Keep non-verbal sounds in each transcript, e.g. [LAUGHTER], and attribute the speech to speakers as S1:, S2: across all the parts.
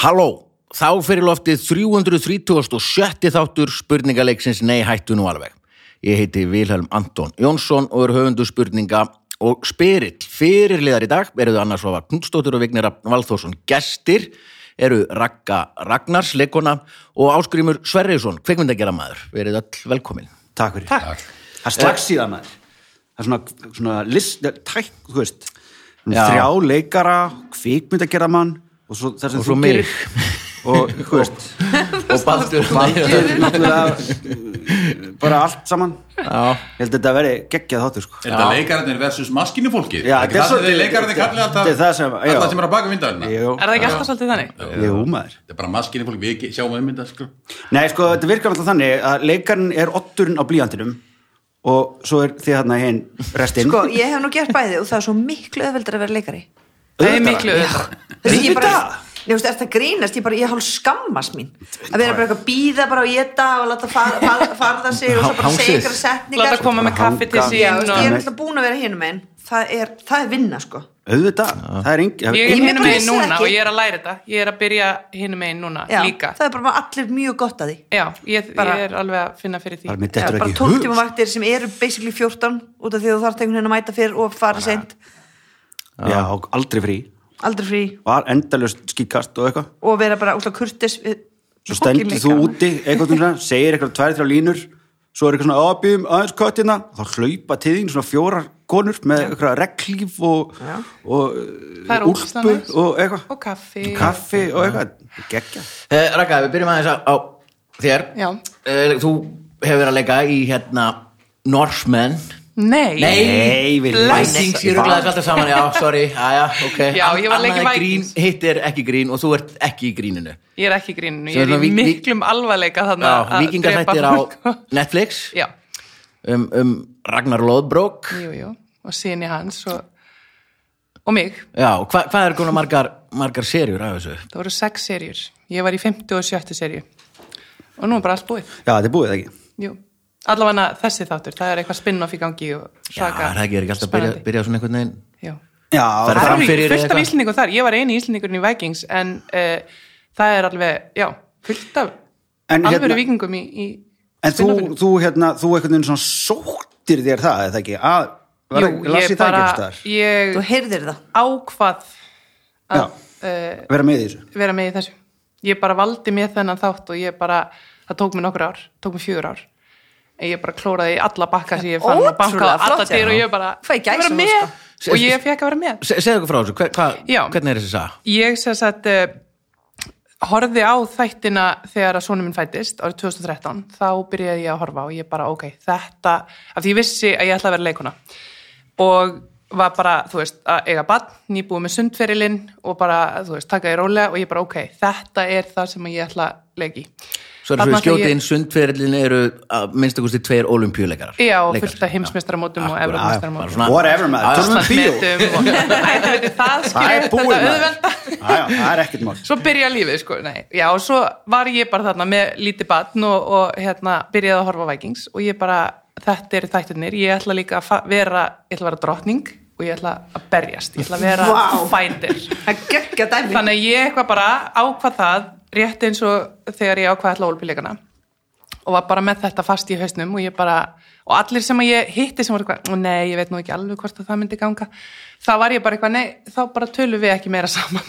S1: Halló, þá fyrir loftið 337. þáttur spurningaleiksins Nei hættu nú alveg. Ég heiti Vilhelm Anton Jónsson og er höfundu spurninga og spyrill. Fyrirliðar í dag eru þau annars ofa Knudstóttur og Vignir Rafn Valþórsson gestir, eru Ragga Ragnars, leikona og Áskrimur Sverriðsson, kveikmyndageramaður. Verið öll velkomin.
S2: Takk fyrir. Takk. Það er slags síðan maður. Það er svona, svona list, tæk, þú veist,
S1: Já.
S2: þrjá leikara, kvikmyndagerðamann og svo það sem
S1: Og svo
S2: þú
S1: mig.
S2: [LAUGHS] gerir. Og, þú veist,
S1: Og Baldur.
S2: valdur náttúrulega uh, bara allt saman.
S1: Já.
S2: Ég held að þetta veri geggjað þáttur, sko.
S3: Er þetta leikararnir versus maskinufólkið?
S2: Já,
S3: það
S2: þetta er
S3: er það sem
S2: svo-
S3: leikararnir kallir alltaf
S2: þetta er það sem- já.
S3: alltaf sem er að baka myndaðurna
S2: Jú,
S4: Er það ekki alltaf svolítið þannig?
S2: jú, maður.
S3: Þetta er bara maskinufólk, við ekki- sjáum um þetta sko.
S2: Nei, sko, þetta virkar alltaf þannig að leikarinn er otturinn á blíjantinum og svo er þið hérna hinn restinn.
S5: Sko, ég hef nú gert bæði og það er svo miklu öðveldur að vera leikari.
S4: Það er miklu auðvitað.
S5: Þú veist, ég bara,
S2: Auðvitað.
S5: ég veist, eftir að grínast, ég bara, ég hálf skammast mín. Að vera bara eitthvað að býða bara og geta og láta far, far, farða sig og svo bara
S1: Hangsið.
S5: segja ykkur setningar.
S4: Láta koma með kaffi til
S2: Hanga.
S5: Já, þú
S4: sín
S5: veist, ég er
S4: og...
S5: alltaf búin að vera hinum einn. Það er, það er vinna, sko.
S2: Auðvitað, það er engin...
S4: Ég er
S5: Ég
S4: hinum
S5: bara
S4: megin
S5: vissi það
S4: núna
S5: ekki.
S4: og ég er að læra þetta. Ég er að byrja hinum megin núna
S5: Já,
S4: líka.
S5: Það er bara allir mjög gott að því.
S4: Já, ég,
S5: Bara-
S4: ég er alveg að finna fyrir
S2: Bara
S4: því.
S2: mér dettur
S5: Já, bara
S2: ekki í
S5: 12
S2: hug.
S5: tíma vaktir sem eru basically 14 út af því að þú þarf einhvern veginn að mæta fyrr og fara seint,
S2: Já, og aldrei frí
S5: aldrei frí
S2: var endalust skíkast og eitthvað
S5: og vera bara útla kurtis við
S2: svo stendur þú úti eitthvað svona, segir eitthvað tvær, þrjá línur svo er eitthvað svona ábyggjum aðeins köttina þá hlaupa til þín svona fjórar konur með eitthvað reglíf og, og
S4: Það er
S2: uh,
S4: ógeðslega
S2: úlpu
S4: næs.
S2: og eitthvað
S4: Og kaffi.
S2: kaffi og eitthvað geggja
S1: Eh, Raka, við byrjum aðeins á, á þér.
S4: Já.
S1: Eh, þú hefur verið að leika í hérna Norsemen.
S4: Nei.
S2: Nei, við
S4: Bless.
S1: Læsing, ég rúglaði þessu alltaf saman, já, sorry, aðja, ok.
S4: Já, ég var að leika í
S1: Annað er grín,
S4: Vikings.
S1: hitt er ekki grín og þú ert ekki í gríninu.
S4: Ég er ekki í gríninu.
S1: Svo er
S4: Ég
S1: svona
S4: er í
S1: vík- vík-
S4: miklum alvarleika
S1: Já,
S4: þarna að
S1: vikingar
S4: drepa
S1: þetta er á
S4: fólk. [LAUGHS]
S1: Netflix
S4: Já,
S1: um, um Ragnar Lóðbrók.
S4: jú, jú. Og síni hans og... Og mig.
S1: Já, og hva, hvað er konar margar, margar serjur af þessu?
S4: Það voru sex serjur. Ég var í 50 og 70 serju. Og nú er bara allt búið.
S2: já, þetta er búið ekki
S4: Jú. Allavega þessi þáttur. Það er eitthvað spinn-off í gangi og
S1: Já,
S4: svaka.
S1: það er ekki alltaf að byrja,
S4: spennandi.
S1: byrja svona einhvern veginn.
S4: Já.
S2: já,
S1: Það er
S4: Það
S1: fram
S4: eru
S1: fyrir
S4: fullt af
S1: eitthvað.
S4: íslendingum þar, ég var eini íslendingurinn í Vikings en uh, það er alveg, já, fullt af
S2: En
S4: alvöru
S2: hérna-
S4: vikingum í, í
S2: en þú, þú hérna, þú einhvern veginn svona sóttir þér það, eða ekki að, var,
S4: Jú, ég bara, ég
S5: Þú heyrðir það.
S4: ákvað
S2: Já.
S4: að uh,
S2: vera með í þessu
S4: vera með í þessu. Ég bara valdi með þennan þátt og ég bara, það tók mér nokkur ár, tók mér fjögur ár. En Ég bara klóraði í alla bakka sem ég fann og bankaði
S5: Ótrúlega
S4: á alla
S5: flott,
S4: dyr og
S5: já.
S4: ég bara,
S5: Fæ
S4: ég
S5: ég
S4: vera
S5: gæsahúð,
S4: með
S1: sko.
S4: og ég fekk að vera með.
S1: Se, segðu okkur frá þessu, hver, hva,
S4: Já.
S1: hvernig er þessi sag?
S4: Ég sem sagt uh, horfði á þættina þegar að sonum minn fættist árið 2013, þá byrjaði ég að horfa og ég bara ok, þetta, af því ég vissi að ég ætla að vera leikuna og var bara, þú veist, að eiga badn, nýbúið með sundferilinn og bara, þú veist, taka ég rólega og ég bara ok, þetta er það sem ég ætla að leiki.
S1: Svo er þessu skjótið inn sundferðlinni eru að minnstakosti tveir olimpíuleikarar.
S4: Já, og
S1: Leikarar.
S4: fullt af heimsmeistaramótum og
S1: Akkurat, bara
S4: evrópmeistaramótum.
S1: svona-
S2: whatever maður, tölum við bíó
S4: Íslandsmetum og [LAUGHS] Æ, þið veitir, það
S2: það
S4: skilur
S2: er búið
S4: þetta
S2: maður
S4: auðvelda.
S2: Já, já, það er ekkert mál
S4: svo byrja lífið sko, nei, já og svo var ég bara þarna með lítið batn og, og hérna byrjaði að horfa á Vikings og ég bara, þetta eru þættirnir, ég ætla líka að fa- vera, ég ætla að vera drottning og ég ætla að berjast, ég ætla að vera
S5: Vá.
S4: fighter.
S5: Það geggja dæmi.
S4: Þannig að ég eitthvað bara ákvað það rétt eins og þegar ég ákvað allar ólpíleikana og var bara með þetta fast í hausnum og ég bara, og allir sem að ég hitti sem var eitthvað, "Ó, nei, ég veit nú ekki alveg hvort að það myndi ganga, þá var ég bara eitthvað, nei, þá bara tölum við ekki meira saman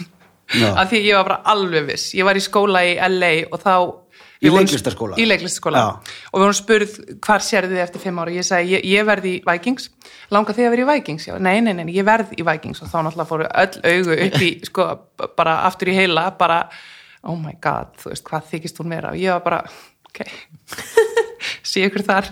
S2: Já.
S4: af því ég var bara alveg viss ég var í skóla í LA og þá
S2: Í
S4: við vorum-
S2: leiklistarskóla?
S4: Í leiklistaskóla
S2: Já.
S4: og við vorum spurð hvar sérðu þið eftir fimm ára og ég sagði, ég, ég verði í Vikings langar þið að vera í Vikings? Já, nei, nei, nei, ég verð í Vikings og þá náttúrulega fóru öll augu upp í,
S2: [LAUGHS]
S4: sko, b- bara aftur í heila bara, oh my god, þú veist, hvað þykist hún vera? Og ég var bara, ok sé ykkur þar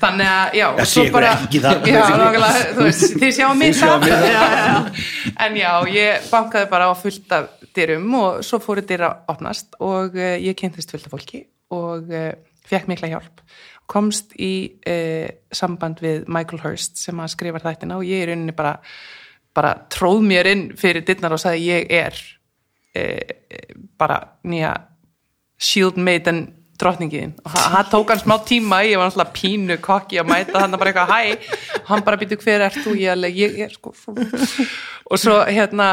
S4: þannig að, já,
S2: Já,
S4: og
S2: sé
S4: svo
S2: ykkur
S4: bara-
S2: ekki þar.
S4: já, nákvæmlega, þú veist, þið sjáum mig
S2: Þið sjáið
S4: þar
S2: mig þar.
S4: Já, já, já. en já, ég bankaði bara á fullt af dyrum og svo fóru dyr að opnast og uh, ég kynntist fullt af fólki og uh, fekk mikla hjálp komst í uh, samband við Michael Hurst sem að skrifa þættina og ég er unni bara, bara tróð mér inn fyrir dyrnar og sagði ég er uh, bara nýja Shield Maiden drottningiðin og það það tók hann smá tíma ég var náttúrulega pínu kokki að mæta þannig bara eitthvað hæ, hann bara býtu hver ert þú ég, alveg, ég er sko frú." og svo hérna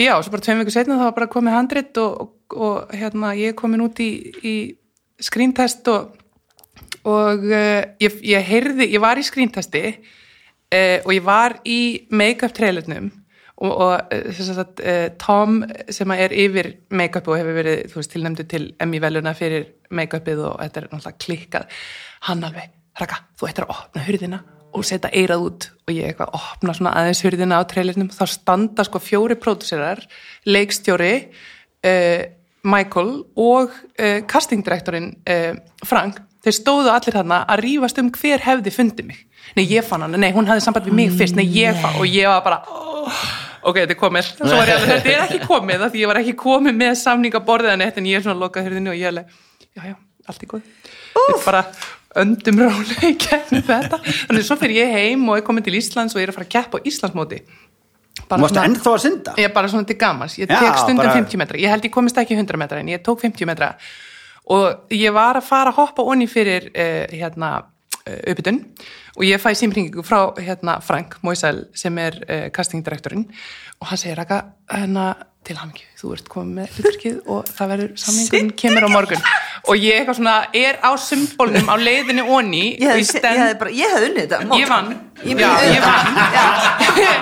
S4: Já, svo bara tveim vikur setna þá var bara komið handrit og, og, og hérna, ég er komin út í, í skrýntest og, og uh, ég, ég heyrði, ég var í skrýntesti uh, og ég var í make-up trailernum og, og eh, sem sagt, uh, Tom sem að er yfir make-up og hefur verið þú veist, tilnæmdu til Emmy veluna fyrir make-upið og þetta er náttúrulega klikkað hann alveg, Raka, þú ættir að opna hurðina og setja eirað út og ég eitthvað opna svona aðeins hurðina á trailernum þá standa sko fjóri pródúserar leikstjóri uh, Michael og uh, castingdirektorinn uh, Frank þeir stóðu allir þarna að rífast um hver hefði fundið mig nei ég fann hana, nei hún hafði samband við
S2: Mm,
S4: mig fyrst nei ég fann og ég var bara oh, ok, þetta er
S2: [LAUGHS]
S4: komið Svo var ég alveg, þetta er ekki komið af því ég var ekki komið með samningaborðið en þetta en ég er svona lokað hurðinu og ég alveg já já, allt í góð Úf. bara öndum rólega í gegnum þetta þannig svo fyrir ég heim og ég komin til Íslands og ég er að fara að keppa á Íslandsmóti bara
S2: Þú varst ennþá að synda?
S4: ég er bara svona til gamans, ég
S2: Já,
S4: tek stundum
S2: bara-
S4: 50 metra ég held ég komist ekki 100 metra en ég tók 50 metra og ég var að fara að hoppa onni fyrir uh, hérna uh, uppbytun og ég fæ símringingu frá hérna Frank Moisel sem er uh, castingdirektorinn og hann segir Raka, hérna til hamingju, þú ert komið með hlutverkið og það verður samlingun kemur á morgun og ég eitthvað svona er á symbolnum á leiðinni onni
S5: Ég
S4: og
S5: hefði,
S4: ég
S5: se- ég
S4: stend
S5: hefði bara, ég hefði unnið þetta mót.
S4: Ég vann,
S5: Ég-
S4: já, ég vann
S5: Já.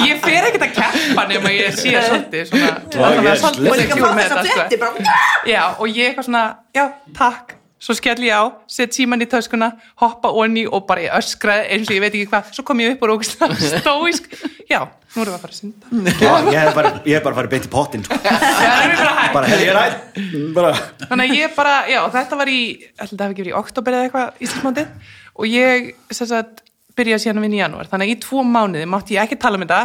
S4: [LAUGHS] Ég fer ekkert að keppa nema ég sé svolítið svona, allavega
S2: yes,
S5: Og
S4: svolítið
S5: líka
S4: secure
S5: fá
S4: með
S5: þess að
S4: þetta, sko.
S5: frétti bara
S4: Já, og ég eitthvað svona, já, takk Svo skell ég á, set síman í töskuna Hoppa onni og bara ég öskraði eins og ég veit ekki hvað, svo kom ég upp og rókst [LAUGHS] stóisk, já, nú erum við að fara að synda
S2: [LAUGHS] Já, ég hef bara, ég hef bara farið beint í pottin sko.
S4: [LAUGHS] Já, nú erum við bara hægt
S2: bara, herri, ég er hætt bara,
S4: Þannig að ég bara, já, þetta var í, ætli þetta hafi ekki verið í oktober eða eitthvað Íslandsmótið og ég, sem sagt, byrjaði síðan að vinna í janúar. Þannig að í tvo mánuði mátti ég ekki tala um þetta,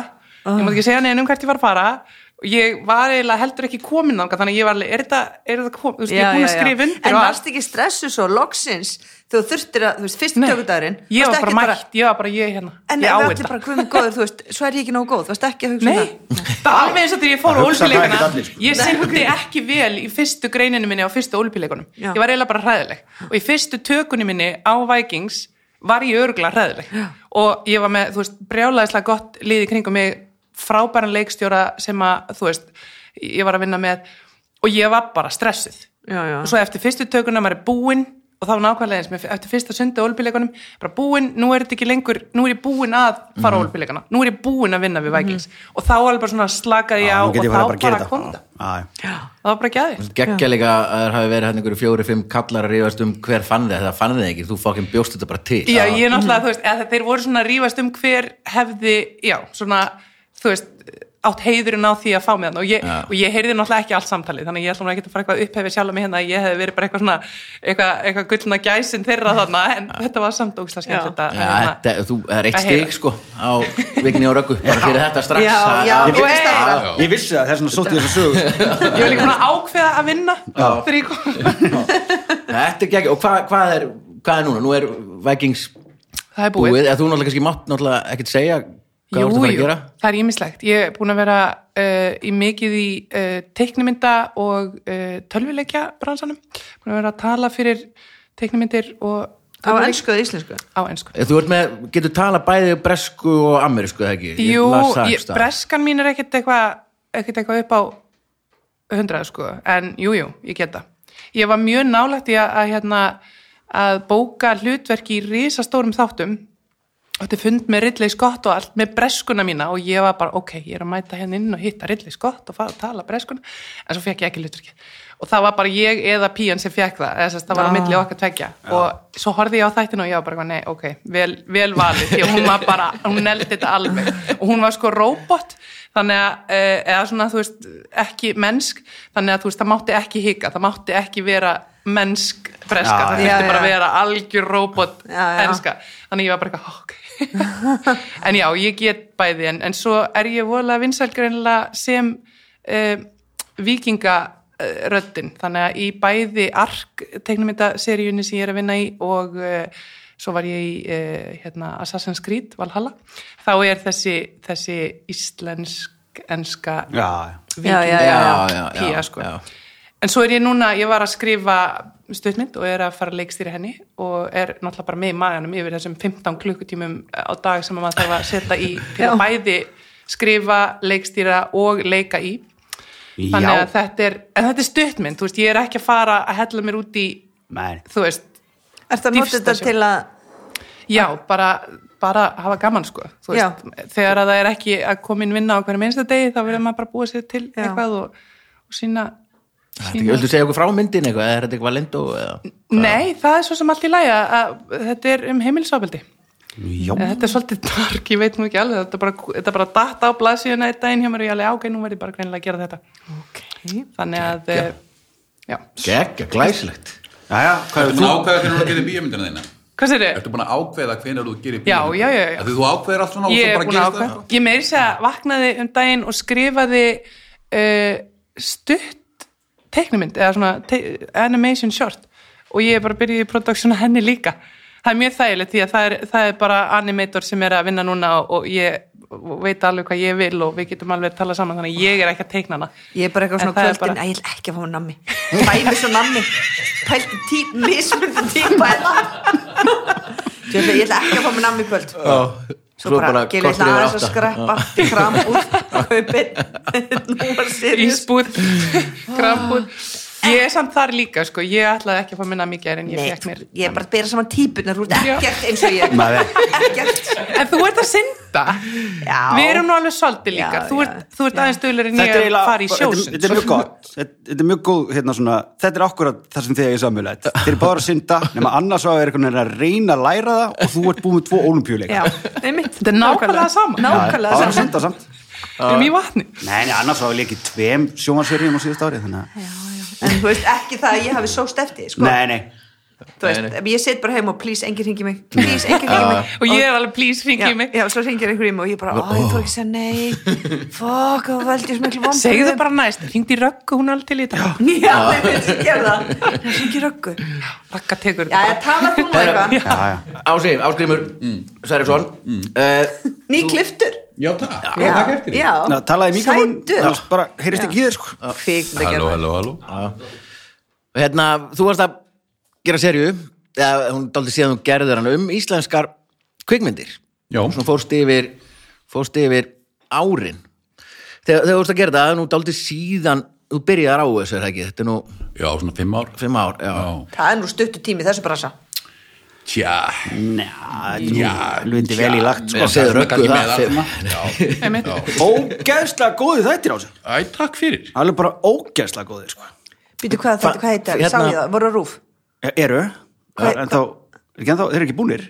S4: ég mátti ekki segja neinum hvert ég var að fara og ég var eiginlega heldur ekki komin þangað, þannig að ég var alveg, er þetta, er þetta kom, þú veist, ég
S5: Já,
S4: er búin að
S5: já, já.
S4: skrifa undir og
S5: En varst ekki stressu svo loksins þú þurftir að, þú veist, fyrstu
S4: Nei.
S5: tökudagurinn
S4: Ég
S5: varstu
S4: var bara
S5: ekkert
S4: mætt, ég var bara ég hérna,
S5: En
S4: ég
S5: ég
S4: á
S5: allir
S4: þetta.
S5: bara guðum góður, þú veist, svo er ég ekki nógu góð, þú veist ekki að hugsa um
S4: Nei, það er alveg eins og þegar ég fór á
S2: Það hugsa það
S4: ólimpíuleikana
S2: ekkert allir, sko.
S4: ég syndi ekki vel í fyrstu greininu minni á fyrstu ólimpíuleikunum
S5: Já.
S4: ég var eiginlega bara hræðileg og í fyrstu tökunni minni á Vikings var ég örgulega hræðileg og ég var með, þú veist, brjálæðislega gott lið í kringum mig, frábæran leikstjóra sem að, þú veist, ég var að vinna með og ég var bara stressuð
S5: Já, já.
S4: og svo eftir fyrstu tökuna maður er búinn og það var nákvæmlega eins með eftir fyrsta sundi ólbíleikunum, bara búinn, nú er þetta ekki lengur nú er ég búinn að fara á
S5: Mhm.
S4: ólbíleikana nú er ég búinn að vinna við Vikings og þá alveg bara svona slakaði ég á
S2: nú
S4: og
S2: get
S4: þá
S2: ég farið bara að gera
S4: bara kom
S2: þetta
S4: það
S2: Já, já.
S4: það var bara ekki aðeins
S1: Gekkjalega að það hafi verið hann einhverju fjóri, fimm kallar að rífast um hver fann þið, það fann þið ekki, þú fokkin bjóst þetta bara til.
S4: já, ég er
S1: Mm.
S4: náttúrulega, þú veist, eða þeir voru svona að rífast um hver hefði, já, svona þú veist, átt heiðurinn á því að fá með hann og ég,
S1: Já.
S4: og ég heyrði náttúrulega ekki allt samtalið, þannig að ég ætlum ekki að fara eitthvað upphefið sjálf með hérna, að ég hefði verið bara eitthvað svona eitthvað, eitthvað gullna gæsin þeirra þarna en þetta var samt ógislega skemmt
S1: Já, þetta, þú það er eitt
S4: að heyra.
S1: stig sko á vigni og röggu, bara fyrir þetta strax.
S5: Já,
S1: Það-
S5: já.
S1: það-
S2: Ég, vissi
S4: Hey!
S2: það, ég vissi það, þess vegna sótti ég þess að sögu
S4: [LAUGHS] Ég var líka búin að ákveða að vinna þegar ég kom.
S1: Þetta er gegn, og hvað, hvað, er, hvað er núna? Nú er Vikings
S4: Það er búið.
S1: búið, eða þú náttúrulega kannski mátt náttúrulega ekkert segja hvað
S4: Jú,
S1: þú ert að fara að
S4: jú,
S1: gera?
S4: það er ímislegt. Ég er búin að vera uh, í mikið í uh, teiknimynda og uh, tölvileikja bransanum. Búin að vera að tala fyrir teiknimyndir og
S5: Á ennsku eða íslensku
S4: á ennsku.
S1: Þú ert með, getur tala bæði bresku og amerísku, eða ekki? Ég
S4: Jú,
S1: las það
S4: ég,
S1: einhvers staðar.
S4: breskan mín er ekkert eitthvað ekkert eitthvað upp á hundrað sko, en jú, jú, ég get það. Ég var mjög nálægt í að, að, hérna, að bóka hlutverk í risastórum þáttum átti fund með Ridley Scott og allt með breskuna mína og ég var bara, ok, ég er að mæta henni inn og hitta Ridley Scott og fara að tala breskuna en svo fekk ég ekki hlutverkið og það var bara ég eða pían sem fekk það eða þess að það var að milli okkar tveggja og svo horfði ég á þættin og ég var bara, eitthvað, nei, ok vel, vel valið, því að hún var bara hún eldi þetta alveg og hún var sko robot þannig að, eh, eða svona þú veist, ekki mennsk þannig að þú veist, það mátti ekki hika, það mátti ekki vera mennsk breska,
S2: Já,
S4: það
S5: já.
S4: þurfti
S5: Já,
S4: bara að
S5: já.
S4: vera algjör robot
S5: Já, já.
S4: enska þannig ég var bara eitthvað "Ó, ok [LAUGHS] en já, ég get bæði en, en svo er ég voðalega vinsælgrinlega sem uh, vikinga eh, röddin, þannig að í bæði ark teknumindaseríunni sem ég er að vinna í og uh, svo var ég í uh, hérna, Assassin's Creed Valhalla, þá er þessi, þessi íslensk enska
S2: Já,
S5: Já, já, já,
S1: já, já, já,
S4: pía sko
S1: já.
S4: en svo er ég núna, ég var að skrifa stuttmynd og er að fara að leikstýra henni og er náttúrulega eh, bara með í maganum yfir þessum 15 klukkutímum á dag sem að maður þarf að setja í til að bæði skrifa, leikstýra og leika í þannig að
S2: Já,
S4: þetta er, en þetta er stuttmynd þú veist, ég er ekki að fara að hella mér út í
S2: menn
S4: þú veist,
S5: Ertu að nota
S4: Dýpsta
S5: þetta
S4: sjó.
S5: til að
S4: já, bara bara hafa gaman sko þú veist, þegar að það er ekki að koma inn vinna á hverjum einsta degi þá verður maður bara að búa sér til
S5: Já.
S4: eitthvað og, og sína
S1: Þú viltu segja okkur frá myndin eitthvað, er þetta eitthvað lendó eða?
S4: Nei, það er svo sem allt í læg að, að þetta er um heimilisofbeldi.
S2: Já,
S4: Þetta er svolítið dark, ég veit nú ekki alveg, þetta er bara, þetta er bara datt á blaðsíðuna í daginn hjá mér og ég alveg ágæð, nú verð ég bara greinilega að gera þetta.
S5: okay.
S4: Þannig að, eh, já.
S1: Gekka, glæsilegt.
S2: já, hvað er þú?
S3: Ertu búin að ákveða hvernig þú gerir bíómyndina þína?
S4: Hvað sér þið?
S3: Ertu búin að ákveða hvernig þú gerir
S4: Já,
S3: bíómyndina?
S4: já, já, já.
S3: Af Því þú ákveðir allt svona og svo
S4: Ég er
S3: bara
S4: búin að
S3: gerist
S4: ákveða.
S3: það?
S4: Ég meiri segja að vaknaði um daginn og skrifaði uh, stutt teiknumynd eða svona te animation short og ég er bara byrjuð í production að henni líka. Það er mjög þægilegt því að það er, það er bara animator sem er að vinna núna og, og ég og veit alveg hvað ég vil og við getum alveg að tala saman þannig að ég er ekki að teikna hana.
S5: Ég er bara eitthvað
S4: En
S5: svona
S4: það er
S5: kvöldin
S4: bara-
S5: að ég vil ekki að fá mér nammi Bæmi svo nammi Pælti tí, mismunandi típa er það Ég ætla- ég ætla ekki að fá mér nammi í kvöld
S1: Já.
S5: Svo bara, gilið ætla aðeins að skreppa Kram út, kaupin Nú var seriðs
S4: Ísbúð, [LAUGHS] krabbúð. Ég er samt þar líka sko, ég ætlaði ekki að fá minna mikið en ég
S5: Nei,
S4: fekk mér.
S5: ég er bara að bera saman típunar út
S4: Já.
S5: Ekkert eins og ég
S2: Maður.
S5: Ekkert
S4: En þú ert að synda.
S5: Já.
S4: Við erum nú alveg svolítið líka.
S5: Já,
S4: þú,
S5: já.
S4: ert, þú ert aðeins stöðlega en
S2: Þetta er
S4: ég að
S2: eiginlega-
S4: fara í
S2: þetta-
S4: sjósund. sko.
S2: Þetta er mjög gott, þetta þetta er mjög góð hérna svona, þetta er akkurat það sem þið er
S4: [LAUGHS]
S2: samjöðlega Þeir eru báður að synda, nema annars að er einhvern veginn að reyna að læra það og þú ert búið með tvo
S5: Já,
S4: [LAUGHS]
S2: ólimpíuleika
S5: einmitt
S4: Þetta er nákvæmlega sama.
S5: Nákvæmlega
S2: Báður að
S5: sama.
S2: synda samt
S4: Við erum í vatni.
S2: Nei, nei, annars að við leikið tveim sjónvarsverjum á síðust ári þannig að
S5: En þú veist ekki það að ég hafi sóst eftir því, sko.
S2: Nei, nei,
S5: Þú veist,
S1: Nei, nei.
S5: ef Ég set bara heim og please, enginn ringi mig Please, enginn ringi mig
S4: Og ég er alveg please
S5: Já,
S4: ringi í mig.
S5: já, svo ringir einhver í mig og ég bara, ó, ég fór ekki að segja
S4: [LAUGHS]
S5: nei fokk, það veldi ég smiklu vombrið
S4: Segðu bara næst. Ringdi í röggu, hún er alveg til í þetta.
S5: [LAUGHS] Já, ég veit sem gerði það Það ringi röggu Já,
S4: Ragga tekur
S5: já, tala þú nú eitthvað
S2: já, já
S1: Ásif, Áskrimur,
S3: Mm.
S1: Sverjesson, uh,
S5: Ný kliftur
S3: Já, takk.
S5: Já,
S3: Takk eftir því.
S5: já
S2: Ná, talaði mikið
S5: Sætur.
S2: annars bara heyrist ekki í þér sko
S5: Kvikmyndagerð.
S3: Halló, halló, halló.
S1: hérna, þú varst að gera serju, eða hún daldi síðan hún gerður hann um íslenskar kvikmyndir.
S3: Já.
S1: Svona fórst yfir, fórst yfir árin. Þegar, þegar þú varst að gera það, nú daldi síðan, þú byrjaðar á þessu, er það ekki? Þetta er nú
S3: Já, svona fimm ár.
S1: fimm ár, já.
S3: Já.
S5: Það er nú stuttu tími í þessu brasa
S3: Tja,
S2: Sko, Næ,
S3: já.
S2: lundi vel í lagt
S1: Já,
S2: sko
S1: segðu
S3: svona
S1: Röggu
S3: kannski
S1: það,
S3: með
S1: segðu-
S3: þarna. Já.
S2: Ógeðslega góði þættir á þessu
S3: Æ, takk fyrir.
S2: Alveg bara ógeðslega góðir sko
S5: Býtu hvað þetta, hvað heitir,
S1: Hérna-
S5: sá ég það, voru á rúf
S2: E- Eru,
S5: Hvað-
S2: en þá, er ekki ennþá, þeir eru ekki búnir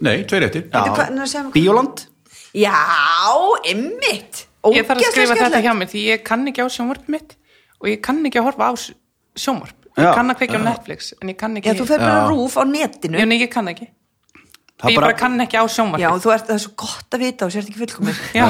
S3: Nei, tveir eftir.
S5: Bíddu, hvað- nú segðu mér-
S2: Bíóland
S5: Já, ymmit
S4: Ég þarf að skrifa þetta hjá mér því ég kann ekki á sjónvarp mitt og ég kann ekki að horfa á s- sjónvarp. Ég
S2: Já.
S4: kann að kveikja á Netflix en ég kann
S5: Já,
S4: ekki...
S5: þú fer bara á rúf á netinu
S4: Já, nei, ég kann ekki.
S2: Það
S4: Ég bara kann ekki á
S5: Já,
S4: sjónvarp.
S5: þú ert, það er svo gott að vita og sér ekki fullkomir
S4: Já.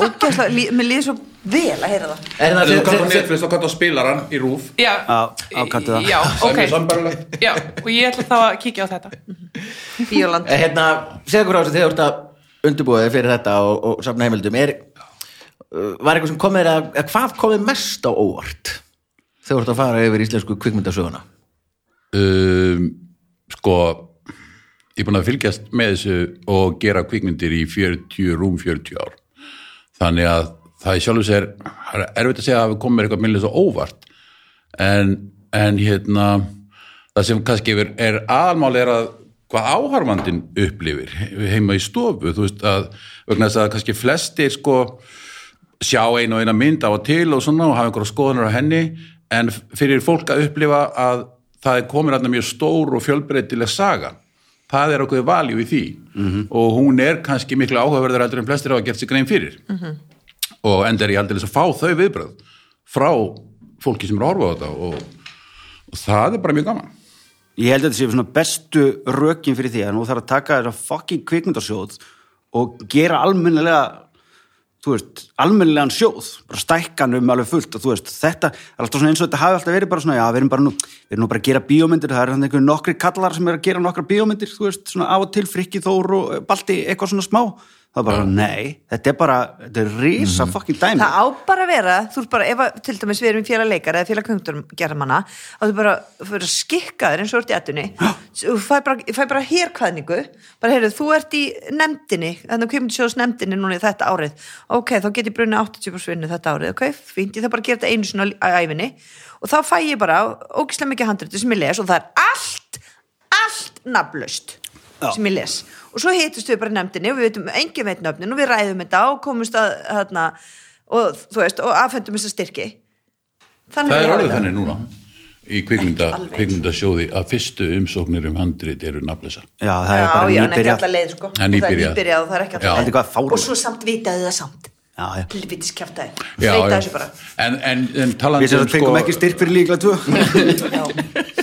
S5: Ógæslega, lí, mér líður svo vel að heyra það
S1: Er það,
S3: Þú
S1: þegar-
S3: kallar
S1: þegar-
S3: Netflix og kallar spilaran í rúf.
S4: Já,
S2: Já, á kanntu það.
S4: Já,
S3: Það er
S4: ok.
S3: mjög sambærilegt.
S4: Já, og ég ætla þá að kíkja á þetta.
S5: Bíóland
S1: Eh, hérna, segðu okkur á þessu þegar þú ert að undirbúa þig fyrir þetta og, og safna heimildum er, uh, var eitthvað sem komið að, að hvað komið mest á óvart þegar þú ert að fara yfir íslensku kvikmyndasöguna
S3: um, sko ég er búin að fylgjast með þessu og gera kvikmyndir í 40, rúm 40 ár þannig að það er sjálfur sér það er erfitt að segja að við komum með eitthvað minnlega svo óvart en, en hérna það sem kannski er, er aðalmál er að hvað áharfandin upplifir heima í stofu, þú veist að vegna þess að kannski flestir sko sjá einu og eina mynd á og til og svona og hafa einhverja skoðanur á henni en f- fyrir fólk að upplifa að það er komin aðna mjög stór og fjölbreytileg saga það er okkur valjú í því
S2: Mhm.
S3: og hún er kannski miklu áhugaverður heldur en flestir hafa gert sér grein fyrir
S5: Mhm.
S3: og enda er ég aldrei að fá þau viðbröð frá fólki sem er að horfa á þetta og, og það er bara mjög gaman
S2: Ég held að þetta sé svona bestu rökin fyrir því að nú þarf að taka þessa fucking kvikmyndasjóð og gera almennilega þú veist, almennilegan sjóð bara stækkan um alveg fullt og þú veist, þetta er alltaf svona eins og þetta hafi alltaf verið bara svona, já, við erum bara nú, við erum nú bara að gera bíómyndir, það er þannig einhver nokkri kallar sem er að gera nokkra bíómyndir, þú veist, svona af og til frikki þór og eh, balti eitthvað svona smá það er bara, nei, þetta er bara þetta er risa fucking dæmi
S5: Mhm. Það á bara að vera, þú ert bara, ef að, til dæmis við erum félagleikar eða félagkvöngdurgerðamanna, að þú bara fyrir að skikka þér eins og þú ert í ettunni, þú fæ bara, fæ bara hérkvæðningu, bara heyrðu, þú ert í nefndinni, þannig að kemur sjóðs nefndinni núna í þetta árið, ok, þá get ég brunni 80% vinnu þetta árið, ok, fínt, ég þarf bara að gera þetta einu sinni á á ævinni og þá fæ ég bara ógislega mikið handriti sem ég les og það er allt, allt nafnlaust
S2: Já.
S5: sem ég les og svo hittust við bara í nefndinni og við veitum engin veit nöfnin og við ræðum þetta og komumst að þarna, og þú veist, og afhendum þessa styrki
S3: Það
S5: þannig við
S3: er
S5: hafa
S3: orðið
S5: þetta.
S3: þannig núna í kvikmynda,
S5: Ekki alveg.
S3: kvikmyndasjóði að fyrstu umsóknir um handrit eru nafnlisa.
S2: já, það er
S5: já,
S2: bara
S5: já, en ekki
S2: nýbyrja
S5: allar leið sko.
S3: Það er nýbyrjað.
S5: það er nýbyrjað og það er ekki
S3: Já.
S5: allar
S2: Þetta er hvað fáránlegt.
S5: og svo samt vitaði það samt
S2: Já, já.
S5: helvitis kjaftaði, þreita þessu bara
S3: En, en, en
S2: við
S3: talandi um, sko,
S2: sem það
S5: Sko-
S2: fengum ekki styrk fyrir líklega tvö
S5: [LAUGHS]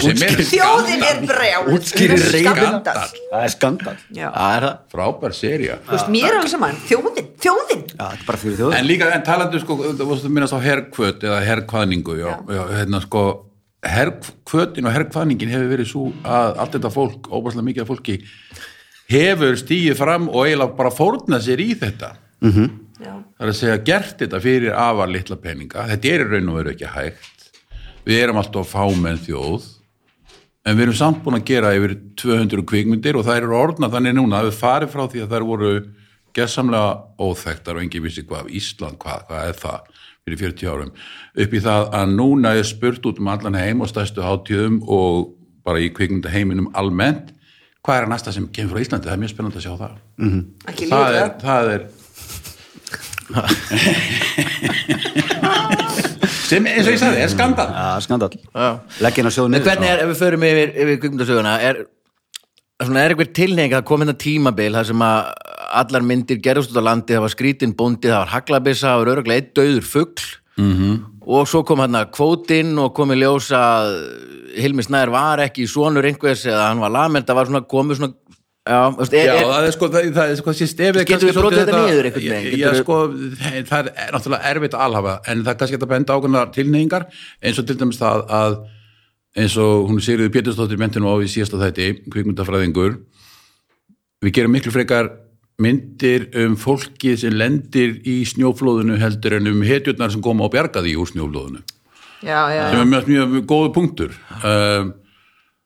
S3: Já, sem er
S5: þjóðin er brjál
S2: Útskýrir reiðina. það er skandal
S5: Já.
S2: það er það
S3: Frábær seria.
S5: þú veist, mér er alveg saman, þjóðin, þjóðin
S2: Já, þetta er bara fyrir þjóðin.
S3: En líka, en talandi sko, það varst að minnast á herrkvöt eða herrkvæningu, já, já. hérna sko, herrkvötin og herrkvæningin hefur verið svo að allt þetta fólk, óbærslega mikið af fólki, hefur stíið fram og eiginlega bara fórnað sér í þetta.
S5: Já.
S3: Það er að segja, gert þetta fyrir afar litla peninga, þetta er í raun og veru ekki hægt, við erum alltaf fámenn þjóð, en við erum samt búin að gera yfir 200 kvikmyndir og það eru orðna þannig núna að við farið frá því að það voru gessamlega óþekktar og engin vissi hvað Ísland, hvað, hvað er það fyrir 40 árum, upp í það að núna er spurt út um allan heim og stærstu hátíðum og bara í kvikmyndaheiminum almennt, hvað er að næsta sem kemur frá Íslandi, það er mjög spennandi að sjá það
S5: ekki
S3: það
S5: líka
S3: er, það er sem eins og ég sagði, er skandal
S2: Já, skandal.
S1: Já.
S2: Leggja inn á sjóðin
S1: En hvernig er, ef við förum yfir, yfir kvikmyndasöguna er, svona, er eitthvað tilnefing að koma hérna tímabil þar sem að allar myndir gerðust út á landi, það var skrítin bóndi það var haglabissa, það var öruglega eitt döður fugl -hmm. og svo kom hérna kvótinn og komið ljósa Hilmi Snæður var ekki svonur einhvers eða hann var lamend, það var svona komið svona Já, þú veist, er,
S3: Já,
S1: er,
S3: það er sko, það, það er sko síst,
S1: Getum við brotið þetta niður einhvern veginn?
S3: Já,
S1: Getum við-
S3: sko, það er náttúrulega erfitt að alhafa en það er kannski hægt að benda ákveðna tilneyingar eins og til dæmis það að eins og hún sériðu Pétursdóttir mentinu á í síðasta þætti, kvikmyndafræðingur við gerum miklu frekar myndir um fólkið sem lendir í snjóflóðinu heldur en um hetjurnar sem koma og bjarga því úr snjóflóðinu
S4: já, já,
S3: sem er mjög, mjög góðu punktur um,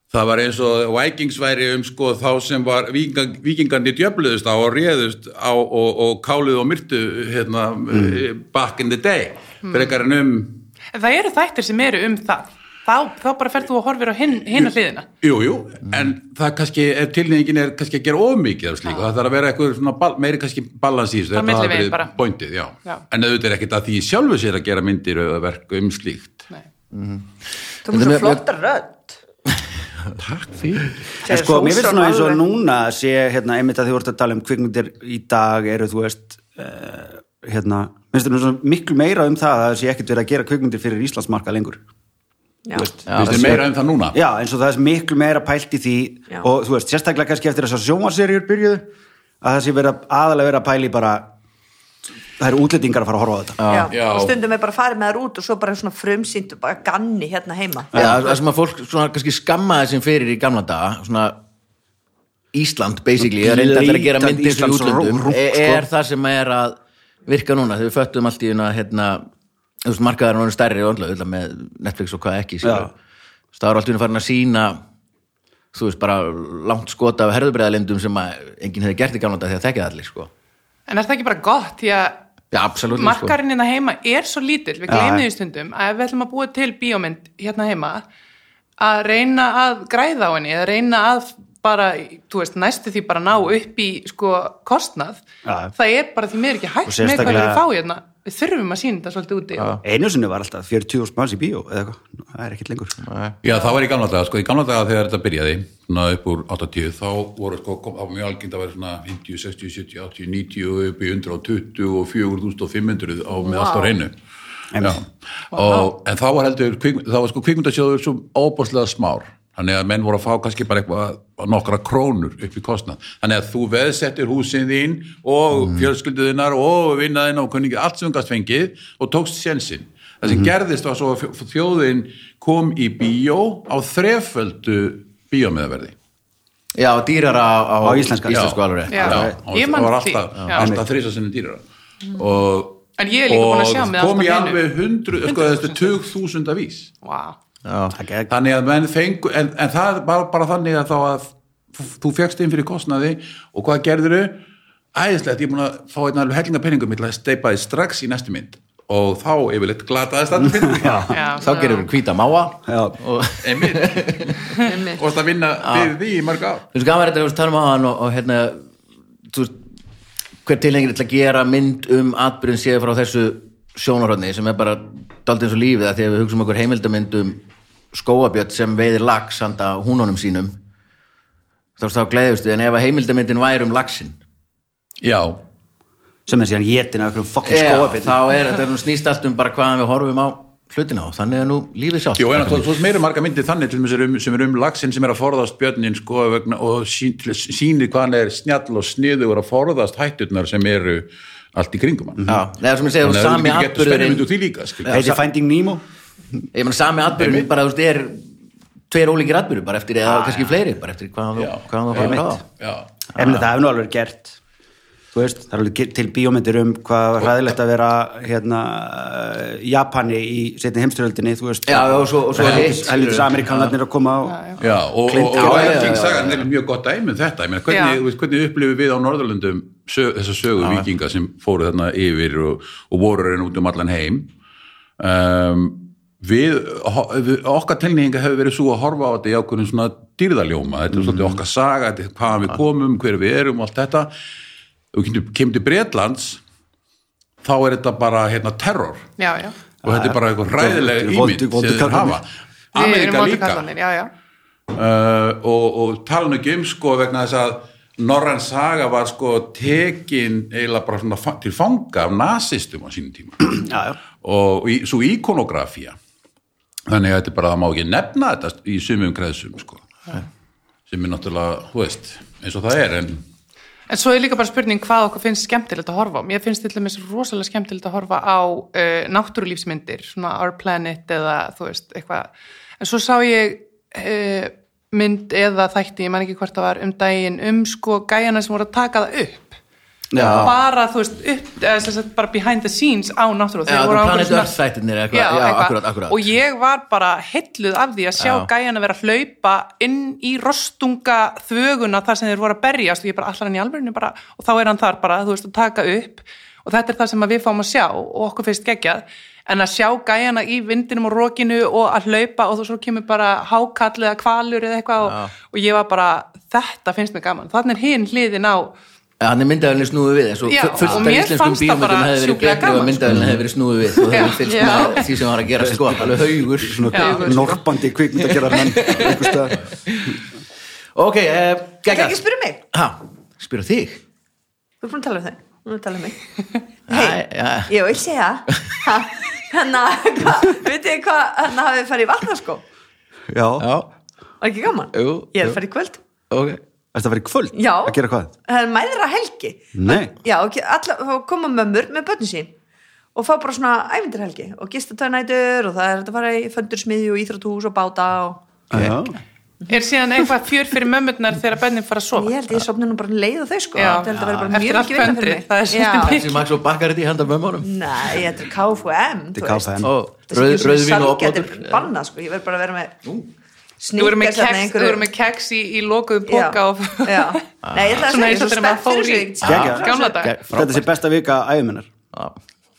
S3: það var eins og Vikings væri um sko þá sem var vikinga- vikingandi djöfluðust á og réðust á og, og káluð og myrtu hérna,
S4: Mm.
S3: back in the day frekar en um
S4: En það eru þættir sem eru um það þá, þá bara ferð þú og horfir á hinn hin hliðina
S3: Jú, jú,
S4: Mm.
S3: en það kannski, ef tilnefingin er kannski að gera of mikið af slíku, það þarf að vera eitthvað svona bal, meiri kannski balans í þessu,
S4: Bara milli
S3: hafi
S4: veginn
S3: verið
S4: bara.
S3: pointið, já.
S4: Já.
S3: En auðvitað er ekkert að því sjálfu sér að gera myndir eða verk um slíkt.
S4: Nei.
S5: þú erum svo flottar rödd
S3: Takk fyrir.
S2: En sko, mér finnst svona eins og
S5: Alveg.
S2: núna sé, hérna, einmitt að þið voru að tala um kvikmyndir í dag eru, þú veist, uh, hérna, mér finnst þetta miklu meira um það að það sé ekkert verið að gera kvikmyndir fyrir Íslandsmarka lengur.
S5: Já.
S3: Vistu
S1: það sé-
S3: meira um það núna?
S2: Já, eins og það er miklu meira pælt í því
S5: Já.
S2: og þú veist, sérstaklega kannski eftir þessar sjónvarserjur byrjuðu, að það sé verið að- aðalega verið að pæli bara, það eru útlendingar að fara að horfa á þetta.
S5: Já.
S3: Já.
S5: og stundum er bara farið með þær út og svo bara svona frumsýnd og bara ganni hérna heima
S1: Já, það sem að fólk svona kannski skammaði sem fyrir í gamla daga svona Ísland basically, það reynda allir að gera
S2: Blatant
S1: myndir fyrir
S2: Íslands
S1: útlöndum,
S2: rúm- rúm,
S1: er,
S2: sko.
S1: er það sem er að virka núna, þegar við föttum allt í hérna, hérna, þú veist, markaðar núna stærri og andlega, auðvitað með Netflix og hvað ekki skilur. Þú veist, það eru allt í hérna farin að sína þú veist, bara langt skot af herðubreiðalindum sem að enginn hefði gert í gamla daga þegar þekkið allir, sko
S4: en er það ekki bara gott því að
S1: Já, absolutt, sko.
S4: markarinn hérna heima er svo lítill við
S2: Já,
S4: gleymum
S2: já.
S4: því stundum að ef við ætlum að búa til bíómynd hérna heima að reyna að græða á henni eða reyna að bara, þú veist, næstu því bara ná upp í sko kostnað
S2: Já.
S4: það er bara því miður ekki
S2: Og
S4: hægt með
S2: sérstaklega-
S4: hvað við fá hérna við þurfum að sína þetta svolítið úti og-
S2: Einu sinni var alltaf 40.000 manns í bíó eða eitthvað, það er ekkert lengur.
S3: Já, það var í gamla daga, sko, í gamla daga þegar þetta byrjaði, svona upp úr 80, þá voru sko, kom, það var mjög algjönd að vera svona 50, 60, 70, 80, 90 og upp í 120 og 4500 á með allt á reynu. Já, og, en þá var heldur, kvik, þá var sko kvikmyndasjóður svo óbáslega smár, þannig að menn voru að fá kannski bara eitthvað nokkra krónur upp í kostnað, þannig að þú veðsettir húsin þín og mm. fjölskylduðinnar og vinnaðinn og kunningið, allt sem þú gast fengið og tókst sjensinn. Það sem gerðist var svo að fjó- þjóðin kom í bíó á þreföldu bíómiðaverði.
S1: Já, dýrar á, á,
S2: Á íslenska.
S1: íslensku alveg
S4: Já.
S1: rétt.
S3: Já,
S4: Ég
S3: og það
S4: man
S3: var
S4: því.
S3: alltaf,
S4: Já. Mm.
S3: alltaf þrýsa sinni dýrara og,
S4: En ég er líka búin að sjá með
S3: og kom
S4: allt
S3: ég
S4: af hinu.
S3: alveg hundru, sko þetta er tug þúsund af vís
S4: Vá.
S2: Takk,
S3: þannig að menn fengu en, en það var bara þannig að þá að þú- þú fegst inn fyrir kostnaði og hvað gerðuru? Æðislegt, ég er búin að fá einn alveg hellinga peningum ég ætla að steipa því strax í næstu mynd og þá yfirleitt glataðist allir peningum
S4: Já,
S1: Þá gerir við hvíta máa
S2: Já.
S1: og
S3: einmitt, og það vinna fyrir því í marga ár
S1: Þú veist, gaman er þetta að tala um á hann og, og hérna, þú veist, hver tilhengir til að gera mynd um atbyrðin séð frá þessu sjónarhóðni sem er bara daldið eins og lífið að því að við hugsaum okkur heimildamynd um skóabjött sem veiðir lax handa húnunum sínum þá veist, þá gleðist við en ef að heimildamyndin væri um laxin
S3: já,
S2: sem er síðan jétin af einhverjum fokkin
S1: þá er
S2: skóabit
S1: þetta er nú snýst allt um bara hvaðan við horfum á hlutina og þannig er nú lífið sjálft
S3: Jó, en þú veist meira marga myndir þannig til þess um, sem er um laxinn sem er að forðast björnin sko vegna og sín, til- sýnir hvað hann er snjall og sniður að forðast hætturnar sem eru allt í kringum hann.
S1: Já, neða sem ég segja,
S3: Þannig að
S1: sami
S3: þú getur spennið
S1: atbyrðurinn
S3: myndu því líka, skil.
S2: heiti Finding Nemo
S1: ég meina sami atbyrjun bara þú veist er tveir ólíkir atbyrjun bara eftir eða kannski fleiri bara eftir hvað
S3: Já.
S1: þú hvað þú fara á
S3: Já,
S2: Efnir, það hefur nú alveg gert þú veist, það er alveg ge- til bíómyndir um hvað var hræðilegt að vera hérna, eh, Japani í setni heimstyröldinni þú veist,
S1: Já, já, og svo- og svo hitt,
S2: helvitis helvitis
S1: skilur.
S2: Amerikanarnir að koma og,
S3: já, og,
S1: Clint
S3: og, og
S1: Eastwood.
S3: Lion King sagan er mjög gott dæmi um þetta, ég meina,
S4: Já.
S3: hvernig, þú veist, hvernig upplifum við á Norðurlöndum sög, þessa sögu vikinga sem fóru þarna yfir og, og voru reyna út um allan heim um, við, ho- við okkar tilnýðinga hefur verið svo að horfa á þetta í ákveðin svona dýrðaljóma, þetta er svolítið okkar saga þetta er hvaðan við komum, hver við erum og allt þetta og kemur, kemur til Bretlands þá er þetta bara hérna terror
S4: Já, já.
S3: og þetta er bara eitthvað
S2: Vondu-
S3: ræðilega ímynd sem
S2: vondu
S3: þeir
S2: kallarnir.
S3: hafa
S4: Við erum
S3: Amerika
S4: vondu
S3: líka
S4: kallarnir, Já, já.
S3: uh, og, og talan ekki um sko vegna þess að Norræn saga var sko tekin eiginlega bara svona fa- til fanga af nasistum á sínum tíma
S2: já, já,
S3: og í, svo íkonografía þannig að þetta er bara það má ekki nefna þetta í sumum kreðsum sko sem er náttúrulega, þú veist eins og það er en
S4: En svo er líka bara spurning hvað okkur finnst skemmtilegt að horfa á. Mér finnst til dæmis rosalega skemmtilegt að horfa á uh, náttúrulífsmyndir, svona Our Planet eða þú veist, eitthvað. En svo sá ég uh, mynd eða þætti, ég man ekki hvort það var, um daginn um sko gæjana sem voru að taka það upp.
S2: já.
S4: Bara, þú veist, upp, eða sem sagt bara behind the scenes á náttúru.
S1: Já,
S4: Þeir
S1: þú
S4: voru á einhverju
S1: planet
S4: svona-
S1: Earth þættirnir eitthvað, já,
S4: eitthvað.
S1: akkurat, akkurat
S4: og ég var bara heilluð af því að sjá
S1: Já.
S4: gæjan að vera að hlaupa inn í rostunga þvöguna þar sem þeir voru að berjast og ég bara allar hann í alvörinu bara og þá er hann þar bara, þú veist, að taka upp og þetta er það sem að við fáum að sjá og okkur finnst geggjað en að sjá gæjana í vindinum og rókinu og að hlaupa og þú svo kemur bara hákall eða kvalur eða eitthvað og, og ég var bara, þetta finnst mér gaman þannig er hinn hliðin á
S1: hann er myndavelin snúið við eins og
S4: Já,
S1: fu- fullt
S4: og
S1: af
S4: mér
S1: íslenskum
S4: fannst það
S1: bíómyndum
S4: bara
S1: hefði verið
S4: sjúklega
S1: glegnir og
S4: gaman,
S1: myndavelin hefði verið snúið við þú
S4: Já,
S1: hefði fylgst
S4: já.
S1: með því sem var að gera sko alveg haugur
S4: Já.
S2: norpandi kvikmynd að gera menn einhvers staðar.
S1: ok, eh,
S5: Ég
S1: geggjað
S5: ekki spyrja mig,
S1: ha, spyrir þig
S5: þú er búin að tala um þau Þú er að tala um mig
S1: Æ, já.
S5: Hei, ég vil segja Þannig að, hérna, hva- veit ég hvað Þannig að hafið farið í vatnarskó
S2: [LAUGHS] já,
S1: já,
S5: Var ekki gaman?
S1: Jú,
S5: ég er
S1: jú.
S5: að fara í kvöld
S1: ok
S2: þetta var í kvöld
S5: Já.
S2: að gera hvað?
S5: Það er mæðra helgi
S2: Nei,
S5: Já, og alla, og koma mömmur með börnin sín og fá bara svona ævindarhelgi og gista tönætur og það er hægt að fara í föndursmiðju og íþrótús og báta og
S2: já,
S4: er síðan eitthvað fjör fyrir mömmurnar þegar bennin fara að sofa
S5: ég held ég sopna nú bara leið og þau sko
S4: Já.
S5: þetta held að vera bara
S4: Eftir
S5: mjög
S4: allt
S5: mikið vinna
S4: föndrið,
S5: fyrir mig
S4: það er svolítið
S5: Já.
S4: mikið.
S1: þessi maks og bakkar þetta í handa
S4: Mm.
S1: mömmunum
S5: Nei, þetta er KFM
S2: þetta
S5: þú
S2: er
S5: veist.
S2: KFM
S1: Ó,
S5: Þetta er
S1: rauð-
S5: ekki
S1: rauðvín
S5: svona
S1: og
S5: sælgæti,
S1: opnótur
S5: bannað sko, ég verð bara að vera með
S4: Þú verður með
S5: sníkast þarna
S4: keks, þú verður með keks í, í lokuðum póka og
S5: já,
S4: [LAUGHS]
S5: já. Nei, ég ætla að
S4: Svona
S5: segja
S4: eins og
S5: svo
S4: þegar maður
S5: spennt fyrir
S4: fór í-
S5: sig
S2: Geggjað.
S4: gamla dag.
S2: þetta sé besta vika æfuminnar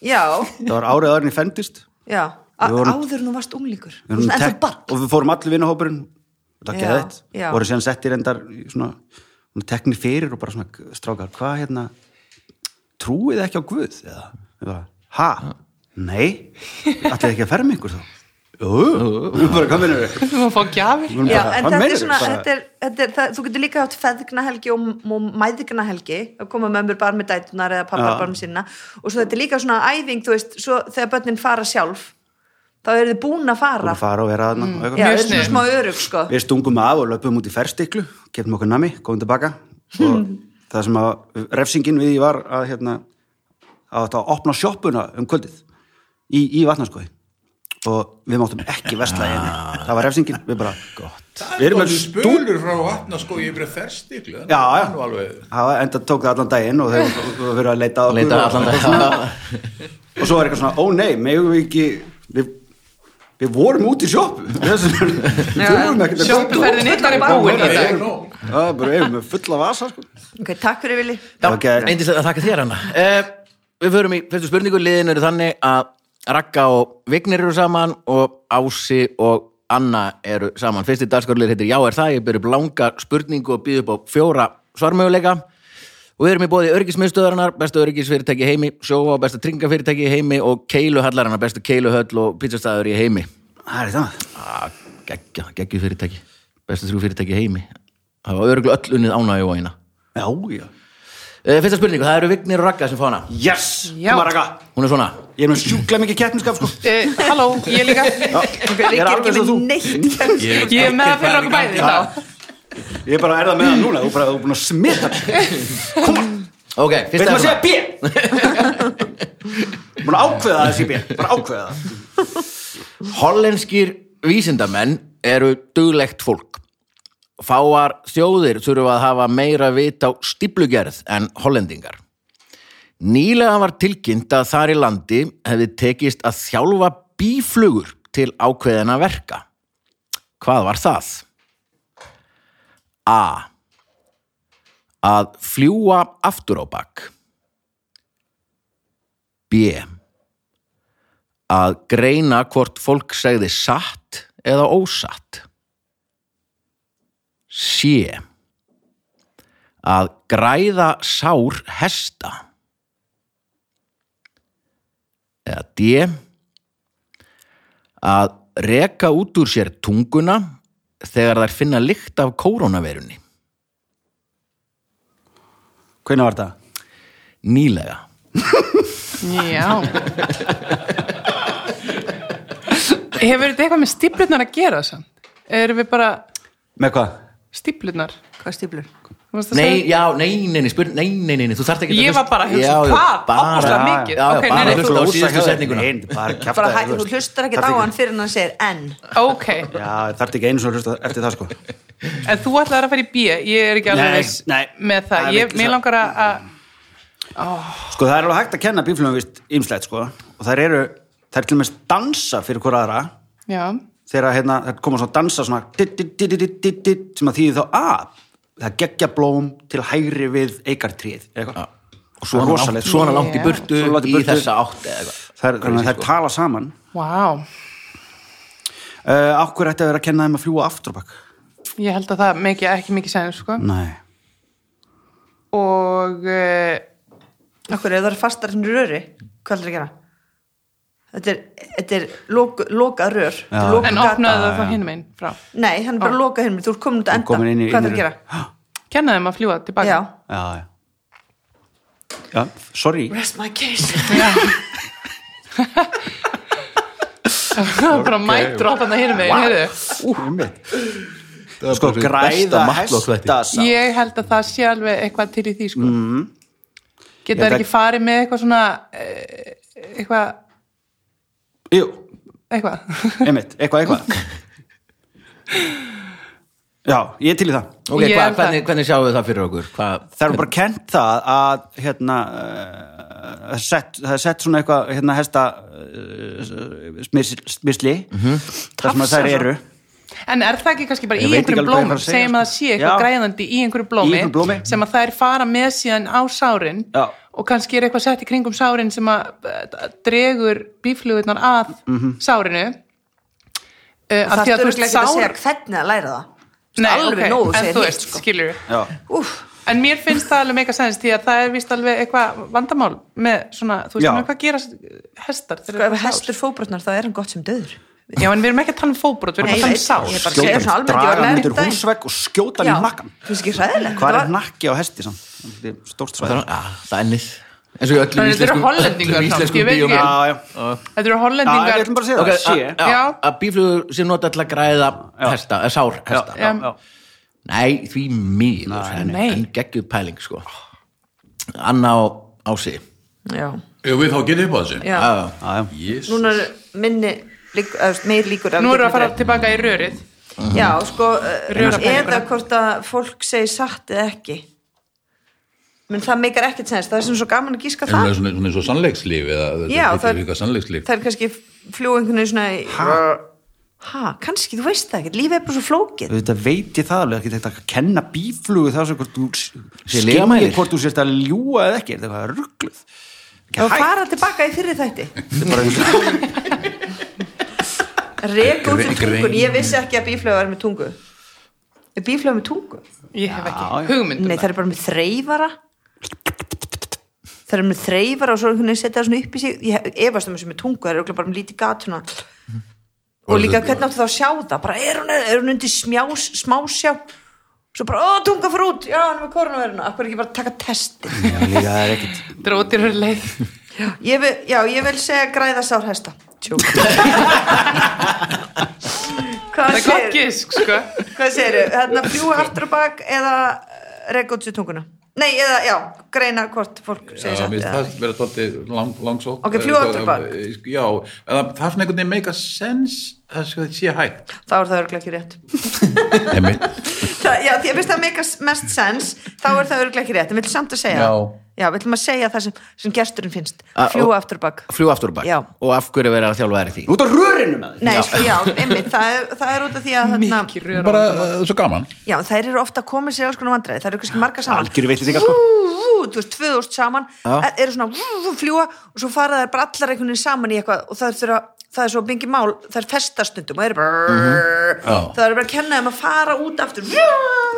S5: Já,
S2: það var árið aðurinn í fendist
S5: já, A-
S2: Við vorum-
S5: áður nú varst unglingur
S2: Við vorum
S5: Svona ennþá
S2: tek-
S5: barn
S2: og við fórum allir vinnahópurinn þetta
S5: Já,
S2: geði þetta,
S5: já.
S2: voru síðan settir endar svona, svona teknir fyrir og bara svona strákar, hvað hérna trúið þið ekki á Guð eða, eða ha, nei allir ekki að fermi ykkur þá [LAUGHS] jú, bara komin við
S4: Þú má fá gjafir
S2: vorum
S5: Já,
S2: bara, "Hvað
S5: en þetta er
S2: meinarðu?"
S5: svona,
S2: Bara-
S5: þetta er, þetta er, það, þú getur líka átt feðgnahelgi og, og mæðgnahelgi að koma með mér bara með dætunar eða pappa
S2: Já.
S5: bara með sinna og svo þetta er líka svona æfing, þú veist, svo þegar börnin fara sjálf þá eru þið búin að fara,
S2: Vorum að fara og vera þarna og
S5: Mm.
S2: eitthvað.
S5: Já, þau
S4: Mjög
S5: eru svona
S4: sniðugt.
S5: smá örug, sko
S2: við stungum af og löpum út í ferstiklu keftum okkur nami, komum tilbaka og það sem að refsingin við því var að hérna að þetta að opna sjoppuna um kvöldið í, í vatnarskoði og við máttum ekki vesla í henni það var refsingin, við bara Ah. gott við erum með stú
S3: spölur frá vatna sko ég er bara ferstiklu
S2: já, já,
S3: nú alveg
S2: það var- enda tók það allan daginn og þeir voru að vera að leita að okkur
S1: leita
S2: og-
S1: allan dag
S4: [LAUGHS]
S2: og svo var eitthvað svona, ó nei, megum við ekki við, við vorum út í sjoppu [LAUGHS] Þessu- við þurfum ekkert að kaupa.
S4: Sjoppuferðin ykkar er búin í
S3: Það er
S4: dag
S3: nóg.
S2: það er bara, eigum við fulla vasa sko.
S5: ok, takk fyrir Vili
S1: Já,
S2: Ok.
S1: okay. að þakka þér hana uh, Við förum í fyrstu spurningu liðin eru þannig að Ragga og Vignir eru saman og Ási og Anna eru saman Fyrsti dagskorlið heitir Já er það ég byrja upp langa spurningu og býð upp á fjóra svarmöguleika og við erum í bóði örgismiðstöðarinnar besta örgisfyrirtæki í heimi, sjóa og besta tringafyrirtæki í heimi og keiluhallarinnar bestu keiluhöll og pizzastæður í heimi
S2: það er það
S1: Ah, geggja, geggju fyrirtæki bestu þrjú fyrirtæki í heimi það var örglu öll unnið ánægju á eina
S2: já, já,
S1: Eh, Fyrsta spurningu, það eru Vignir og Ragga sem fá hana
S2: yes,
S4: Já.
S2: Maraga
S1: Hún er svona
S2: ég er með sjúkla mikið keppniskap sko.
S4: Eh, Halló, ég líka
S5: ok, ég er ekki með neitt kemst.
S3: Ég
S4: Ég er með það fyrir okkur
S3: gangi.
S4: bæði þá
S2: ég er bara að erða með það núna þú er bara þú er búin að smita
S1: Ok,
S2: veitum
S1: fyrsta er
S2: að segja
S1: svona
S2: B búin að ákveða það þessi B bara ákveða það
S1: Hollenskir vísindamenn eru duglegt fólk Fáar þjóðir þurfa að hafa meira vit á stíplugerð en hollendingar Nýlega var tilkynnt að þar í landi hefði tekist að þjálfa bíflugur til ákveðina verka Hvað var það? A Að fljúa aftur á bak B að greina hvort fólk segði satt eða ósatt. Sé að græða sár hesta eða D að reka út úr sér tunguna þegar þær finna lykt af kórónaveirunni
S2: hvernig var það?
S1: nýlega.
S4: Já [LAUGHS] Hefur þetta eitthvað með stíplutnar að gera sann? Erum við bara
S2: með hvað?
S4: stíplutnar?
S5: hvað stíflur?
S4: Þú varst að
S1: Nei,
S4: segja-
S1: já, nei, nei, nei, spurning, nei, nei, nei, nei, þú þarft ekki
S4: Ég var bara að hugsa,
S1: Já, já,
S4: hvað?
S1: bara-
S4: Ofboðslega
S1: já, Já, já,
S4: mikið. Ok, nei,
S1: bara að
S4: nei, þú-
S1: hlusta á síðustu setninguna.
S2: Nei, bara kjafta
S5: bara hæ, þú hlustar ekki á hann fyrir en hann segir en
S4: Ok,
S2: Já, þarf ekki einu svona hlusta eftir það sko
S4: en þú ætlaðir að fara í B Ég er ekki alveg
S2: Nei,
S4: viss
S2: nei.
S4: með það
S2: Það er
S4: Ég,
S2: ekki
S4: Mér
S2: svo-
S4: langar að að-
S2: Sko það er alveg hægt að kenna bíflugum vist ýmslegt sko og þær eru, þær til og með dansa fyrir hver aðra
S4: Já,
S2: þegar hérna, þær koma svona að dansa svona dit, dit, dit, dit, dit, dit, dit, sem að þýði þá að það geggja blóm til hægri við eikartríð eitthvað
S1: og svona langt, svona langt í
S4: Já.
S1: burtu
S2: Svona langt í
S1: í
S2: burtu.
S1: þessa átt eða eitthvað
S2: Þær, þannig að þær tala saman
S4: vá
S2: uh, Akkur ætti að vera að kenna þeim að fljúa aftur á bak
S4: Ég held að það meki ekki mikið sæðin sko.
S2: Nei
S4: og uh,
S5: okkur er það fastar en röri hvað ætlar að gera? þetta er, þetta er lok, lokað rör Þetta er
S2: Já.
S5: lokuð
S4: en
S5: gata.
S4: opnaði það þá hinum einn frá
S5: nei, hann er bara lokað hinn þú er komin út að enda,
S2: komin inn í
S5: hvað ætlar
S2: inn
S5: að
S2: í-
S5: gera?
S4: kenna þeim að fljúa tilbaka
S5: já,
S2: Já, já Já, sorry
S5: rest my case
S4: [LAUGHS] bara mætur og opnaði hinum einn wow.
S2: Sko græða hesta
S4: ég held að það sé alveg eitthvað til í því sko. mm.
S2: Mhm. Ég
S4: geta þær
S2: held
S4: ekki farið með eitthvað svona eh, eitthvað
S2: Jú,
S4: eitthvað [LAUGHS]
S2: einmitt, eitthvað, eitthvað Já, ég er til í það
S1: Ok,
S4: Ég
S1: hva,
S4: held að-
S1: hvernig, hvernig sjáum við það fyrir okkur? Hva,
S2: Það er bara kent það að hérna, uh, sett, það er sett svona eitthvað hérna, hesta uh, smisli mm
S1: Mhm.
S2: -hmm. það sem að þær eru
S4: en er það ekki kannski bara
S2: Ég
S4: í
S2: veit ekki
S4: einhverjum
S2: alveg hvað ég
S4: blómi
S2: var að segja,
S4: segjum að það
S2: sko.
S4: sé eitthvað
S2: Já.
S4: græðandi í einhverju
S2: Í
S4: blómi,
S2: einhverju blómi.
S4: sem að þær fara með síðan á sárin
S2: Já.
S4: og kannski er eitthvað sett í kringum sárin sem að eh, dregur bíflugurnar að
S2: Mhm.
S4: sárinu uh,
S5: það er ekki að segja hvernig að læra það Þú veist,
S4: ok,
S5: alveg nógu
S4: en þú
S5: segir hitt
S4: veist,
S5: sko.
S4: skilur
S2: Já.
S5: Úff,
S4: en mér finnst það alveg meika sens því að það er vist alveg eitthvað vandamál með svona, þú veist,
S2: Já.
S4: með hvað gera hestar þegar
S5: sko, ef
S4: þeir eru
S5: hestur fóbrotnar þá er hann gott sem döður
S4: sár. já, en við erum ekki að tala um fóbrot, við erum
S5: Nei,
S4: að tala um
S5: ég-
S4: sár
S5: ég er bara-
S2: Skjóta
S5: segja svona
S2: hann,
S5: almennt, ég
S2: draga
S5: var að
S2: hann
S5: læra
S2: út úr
S5: þetta.
S2: húsvegg og skjóta hann í nakkan
S5: þú veist ekki hræðilegt
S2: Hvað er
S5: þetta var-
S2: nakki á hesti samt? Þetta er Stórt
S1: það,
S2: svæð
S1: er- ah, það er nýtt eins og í öllum
S4: Þannig þetta eru
S1: íslenskum-
S4: Hollendingar
S1: öllum
S4: samt,
S1: íslenskum
S4: ég veit ekki.
S1: bíómyndum.
S2: Já, já,
S4: þetta eru
S2: já, ég
S4: hollendingar
S2: ætlum bara að segja
S1: Ok,
S2: það, sé
S1: að- já,
S4: Já.
S1: að bíflugur sé nota til að græða hesta, eða sár hesta
S2: Já, já.
S1: Nei, því mýður en,
S4: nei.
S1: en geggjuð pæling sko Anna á Ási
S5: já,
S3: Ef við þá getið upp á þessu
S5: já,
S1: Já, já.
S2: Já, já.
S3: Jesus.
S5: núna er minni lík, eða, þú veist, meir líkur á
S4: Nú erum við
S5: gegnum
S4: að fara
S5: þær.
S4: tilbaka í rörið.
S5: Já, sko, eh,
S4: Rörapælinguna.
S5: eða hvort að fólk segir satt eða ekki menn það meikar ekkert sens, það er sem svo gaman að gíska
S3: En það er
S5: það
S3: svona, svona eins og sannleikslíf eða
S5: Já,
S3: það
S5: það-
S3: er eitthvað sannleikslíf
S5: það er kannski fljú einhvern veginn svona í- ha, kannski, þú veist það ekkert lífið er bara svo flókið
S2: Þetta veit ég það alveg, það er ekki þetta að kenna bíflugu það sem hvort þú skilji
S1: lygamælir.
S2: hvort þú sért að ljúga eða ekki, er þetta eitthvað ruggluð.
S5: og fara tilbaka í fyrir þætti reka út
S3: Gre-
S5: úr tungun,
S3: grein.
S5: ég vissi ekki að bíflögu er með tungu er bíflögu með tungu?
S4: Ég hef
S2: já.
S4: ekki hugmyndum
S5: Nei, það er bara með þreifara það er með þreifara og svo einhvern veginn setja það svona upp í sig ég efast um þessu með tungu, það er örugglega bara með lítið gat svona og líka hvernig áttu þá að sjá það bara er hún, er hún undir smjás, smásjá svo bara, ó, tunga fyrir út já, hann er með koronaviruna, akkur ekki bara taka testi
S2: Já, líka það er ekkert.
S4: Þetta er ódýrar
S5: [LAUGHS]
S4: leið.
S5: ég vil, já, ég vil segja græða sár hesta tjók
S4: Það
S5: hvað
S4: er gott
S5: segir,
S4: gísk, sko.
S5: hvað segir hérna fljúa aftur á bak eða eh, reka út sér tunguna nei, eða, já, greina hvort fólk
S3: Já,
S5: segir satt
S3: mér
S5: eða
S3: finnst
S5: ekki.
S3: það vera tóttið lang, langsótt Eh,
S5: Ok, fljúga aftur bak.
S3: Já, en það, það er svona einhvern veginn make a sense að sko það sé hægt
S5: þá er það örglega ekki rétt [LAUGHS]
S3: Einmitt.
S5: það, já, því að finnst það make us- mest sense þá er það örglega ekki rétt, en vill samt að segja
S3: Já.
S5: já vill maður segja það sem, sem gesturinn finnst
S1: A-
S5: fljúa
S1: og-
S5: aftur á bak
S1: fljú aftur og bak
S5: Já.
S1: og af hverju verið að þjálfa þær í því
S2: Út á rörinu með
S5: Nei, sko, já, einmitt, það er, það er út af því að hérna, þarna,
S4: Mikið rör á
S3: [LAUGHS] bara
S4: vandamál.
S3: uh, svo gaman
S5: já, þær eru ofta að koma sér í alls konar vandræði, þær eru kannski marga saman
S2: Algjöru veitlýsingar, sko.
S5: Vú, vú, þú veist, tvö úrst saman
S1: Já.
S5: eru svona vú, vú, fljúa og svo fara þær bara allar einhvern veginn saman í eitthvað og það er, þeirra, það er svo bingi mál, það er festastundum og eru bara
S3: Já.
S5: það eru bara að kenna þeim að fara út aftur vú,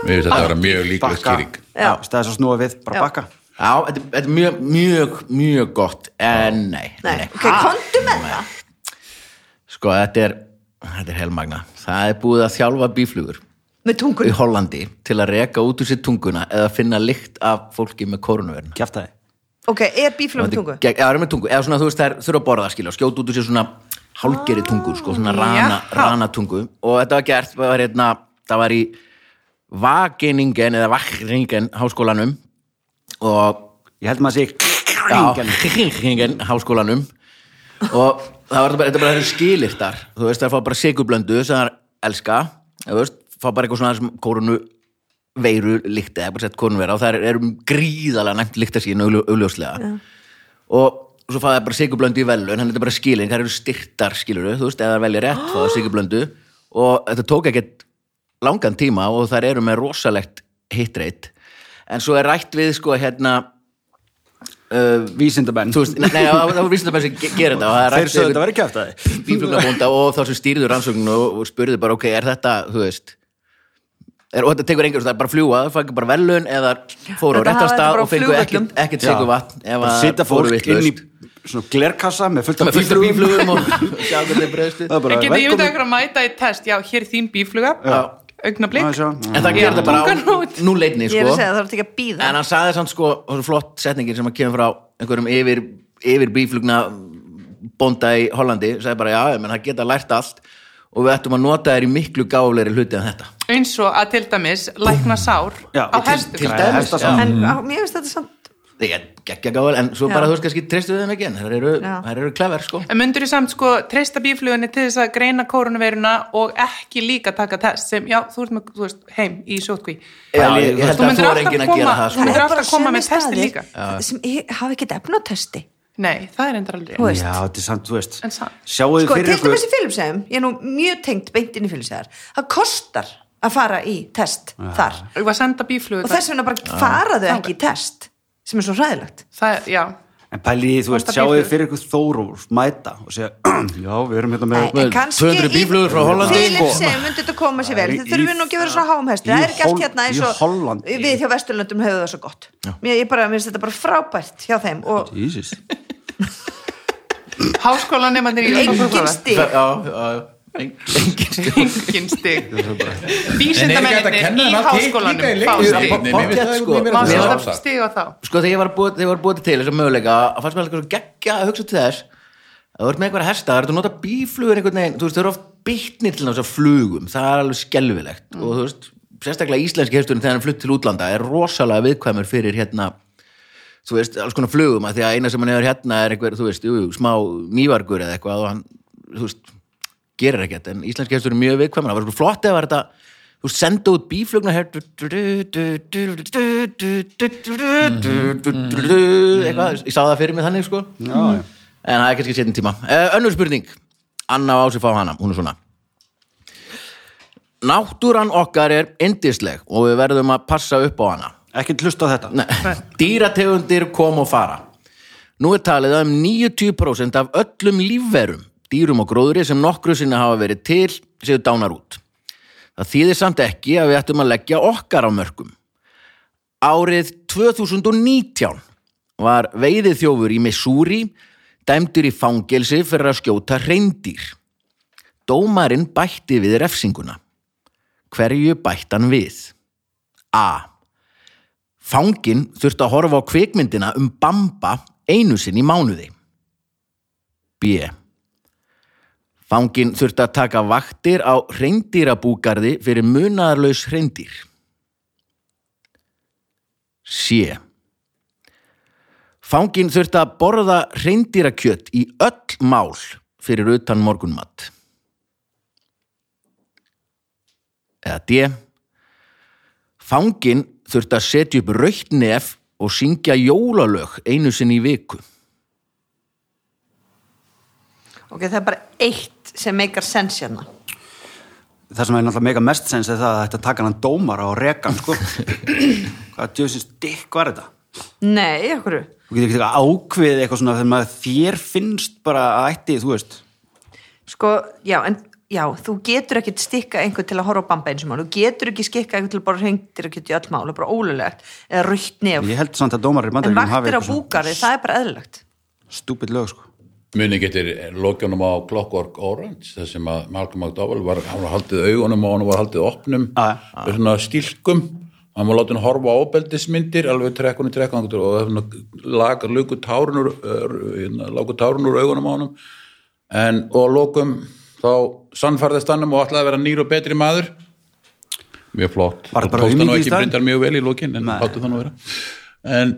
S3: Mér finnst þetta að vera mjög líklega
S2: Bakka.
S3: skýring
S5: Já.
S2: Í staðið svo snúa við,
S5: Já.
S2: bara bakka.
S1: Já, þetta þetta er mjög, mjög, mjög gott en nei,
S5: nei, ok, kondu með það
S1: sko þetta er, þetta er helmagna það er búið að þjálfa bíflugur
S5: með tungun
S1: í Hollandi til að reka út úr sér tunguna eða finna lykt af fólki með koronavirna
S2: Kjæft það.
S5: ok, er bíflum með tungu?
S1: eða er með tungu, eða svona þú veist þær þurfa að borða það skilja og skjóta út úr sér svona hálgeri tungu, sko, svona rana,
S4: Já.
S1: rana tungu og þetta var gert, það var, hérna, það var í Vageningen eða Vageningen háskólanum og
S2: Ég held maður að segja
S1: Hringingen háskólanum og það var þetta bara, þetta bara skilirtar þú veist það fá bara sigurblöndu sem það elska þú veist, fá bara eitthvað svona sem korunu veiru líkti eða bara sett korunvera og það er, er gríðalega næmt líkta sín augljó- augljóslega og svo fá það bara sigurblöndu í velun þannig að þetta er bara skilin, það eru styrtar skiluru þú veist, eða það velja rétt, fá það sigurblöndu og þetta tók ekkert langan tíma og þar eru með rosalegt hitreit en svo er rætt við sko hérna
S2: vísindamenn.
S1: þú veist, nei, nei, það var vísindamenn sem ge- gera þetta og það er
S2: Þeir
S1: rætt
S2: sögðu
S1: yfir
S2: þetta væri kjæft
S1: [LAUGHS]
S2: að þið.
S1: bíflugnabónda og þá sem stýrðu rannsókninu og, og spurðu bara, ok, er þetta, þú veist er, og þetta tekur engur, það er bara fljúa það fengur bara velun eða fóru á réttan
S5: Þetta hafa þetta bara
S1: stað
S5: á
S1: og fengu
S5: flugvöllum.
S1: ekkert, ekkert sigur vatn ef að
S2: Sitta
S1: fóru
S2: fólk inn í
S1: vitlaust.
S2: svona glerkassa með fullt af
S1: með fullt af
S2: bíflugum.
S1: bíflugum og [LAUGHS] sjá hvernig þeir bregðustu
S2: Það er bara
S4: En getur ég myndið
S2: velkomin.
S4: okkur að mæta í test? Já, hér er þín bífluga.
S2: Aðeins,
S4: Augnablík.
S2: já.
S1: en það gerir þetta bara
S4: Tungan
S1: á
S4: út.
S1: núleitni
S5: ég er
S1: sko.
S5: að segja það þarf ekki að býða
S1: en hann sagði samt sko, og svo flott setningin sem að kemur frá einhverjum yfir, yfir bíflugna bónda í Hollandi sagði bara, já, menn það geta lært allt og við ættum að nota þér í miklu gáflegri hluti en þetta
S4: Eins og að til dæmis lækna sár
S2: Já,
S4: á
S2: til-
S1: til
S4: hestum.
S2: Græja
S1: dæmis,
S2: hesta
S1: já.
S2: saman.
S5: en á, mér finnst þetta samt
S1: Ég geggja gáðal, en svo
S5: Já.
S1: bara þú veist kannski treystu þeim ekki en þær eru,
S5: Já.
S1: þær eru klefer sko
S4: En myndur þú samt sko treysta bíflugunni til þess að greina koronaveiruna og ekki líka taka test sem, já, þú ert með, þú veist, heim í sjótkví.
S1: Já, ég, ég held
S4: Þú
S1: að
S4: myndir
S1: það fór
S4: alltaf
S1: enginn að
S4: koma-
S1: gera það
S4: þú
S1: sko
S4: myndir alltaf koma
S5: sömu
S4: með testi
S5: staðir
S4: líka.
S5: sem ég hafa ekki efna á testi
S4: Nei, það er endur
S5: Þú
S4: aldrei.
S5: veist.
S2: Já, þetta er samt, þú veist.
S4: En samt.
S2: Sjáu þið
S5: sko, til
S2: fyrir ykkur.
S5: dæmis í Filipsheim, ég er nú mjög tengt beint inn í Filipsheim, það kostar að fara í test þar
S4: Ég var að senda bíflugur.
S5: og þess vegna bara faraðu ekki í test sem er svo hræðilegt
S4: Það, er- já,
S2: En pæliði, þú veist,
S4: Kostar
S2: sjáu þið
S4: bíflug.
S2: fyrir ykkur Þóróf mæta og segja, [CLEARS THROAT] já, við erum hérna
S5: Nei,
S2: með
S5: en kannski
S1: 200 bíflugur frá Hollandi.
S5: Filipsheim myndi þetta koma sér vel
S2: Það er
S5: þið þurfum
S2: sko. í-
S5: nú ekki að vera svona háumhesti það
S2: í
S5: er ekki allt
S2: Hol-
S5: hérna
S2: í
S5: eins og
S2: Hollandi.
S5: við hjá Vesturlöndum höfum það svo gott mér, ég bara, mér finnst þetta bara frábært hjá þeim og
S2: Jesus.
S4: háskólanemandir
S2: [LAUGHS]
S4: í
S5: engin stig
S1: Já, já, já Engin stig
S4: Engin
S3: [LAUGHS]
S4: stig.
S3: En er ekki hægt að
S4: Vísindamenninni
S3: kenna
S4: í
S3: þeim allt hitt
S4: háskólanum
S3: líka í
S4: fá
S3: leiknum?
S4: stig.
S3: Nei, nei, mér finnst það-
S1: Sko,
S3: mér
S1: Nei,
S3: finnst það
S4: Má
S1: það
S4: setja
S3: sjálfsagt.
S4: stig á þá.
S1: Sko þegar ég var að búa, þegar ég var að búa þetta til þessum möguleika að fannst mér eitthvað svo geggja að hugsa til þess að þú ert með einhverja hesta, það er þetta að nota bíflugur einhvern veginn, þú veist, þau eru oft bytnir til þess að flugum, það er alveg skelfilegt og þú veist, sérstaklega íslenski hesturinn þegar hann er flutt til útlanda er rosalega viðkvæmur fyrir hérna, þú veist, alls konar flugum að því að eina sem hann hefur hérna er einhver, þú veist, jú, jú, smá nývargur eða eitthvað og hann, þú veist, gerir ekkert en íslenski hestur er mjög viðkvæmur það var sko flott eða var þetta þú veist, senda út bíflugna eitthvað, ég sá það fyrir mig þannig sko en
S2: já.
S1: það er kannski setjum tíma Eh, önnur spurning, Anna á sig fá hana hún er svona náttúran okkar er indisleg og við verðum að passa upp á hana
S2: ekki hlusta á þetta
S1: Nei. Dýrategundir kom og fara. Nú er talið að um 90% af öllum lífverum, dýrum og gróðri sem nokkru sinni hafa verið til, séu dánar út. Það þýðir samt ekki að við ættum að leggja okkar á mörgum. Árið 2019 var veiðið þjófur í Missouri dæmdur í fangelsi fyrir að skjóta reyndýr. Dómarinn bætti við refsinguna. Hverju bætt hann við? A. Fangin þurfti að horfa á kvikmyndina um Bamba einu sinn í mánuði. B. Fangin þurfti að taka vaktir á hreindýrabúgarði fyrir munaðarlaus hreindýr. C. Fangin þurfti að borða hreindýrakjöt í öll mál fyrir utan morgunmatt. Eða D. Fangin þurfti að setja upp rautt nef og syngja jólalög einu sinni í viku.
S5: ok, það er bara eitt sem meikar sens hérna
S2: það sem er náttúrulega mega mest sens er það að þetta taka hann dómara og reka hann
S5: [CLEARS THROAT]
S2: sko hvað djöfisins dikk var þetta
S5: nei, okkur
S2: þú getur ekki tekið ákveðið eitthvað svona þegar maður þér finnst bara að ætti þú veist
S5: sko, já, en já, þú getur ekki stikka einhvern til að horfa á bamba eins og mál þú getur ekki skikka einhvern til að bara hengtir að geta í öll mál, það er bara ólulegt eða rautt nef,
S2: ég held samt að dómari í
S5: en
S2: bandaríkjum hafi
S5: vaktir á
S2: eitthvað svona
S5: búgarði, það er bara eðlilegt
S2: stúpid lög sko
S3: muni getur lokunum á Clockwork Orange þar sem að Malcolm McDowell var, hann var haldið augunum og hann var haldið opnum
S2: Já,
S3: með svona stílkum hann var látið að horfa á opbeldismyndir alveg trekkunni trekkunni og það svona lagar lugu tárun úr eh, lagu tárun úr hérna, augunum á honum en og að lokum þá sannfærðist hannum og ætlaði að vera nýr og betri maður mjög flott
S2: Var
S3: og
S2: bara
S3: tókst það nú
S2: aumingi í
S3: ekki
S2: staðinn?
S3: breyndar mjög vel í lokin en láttu það nú vera en,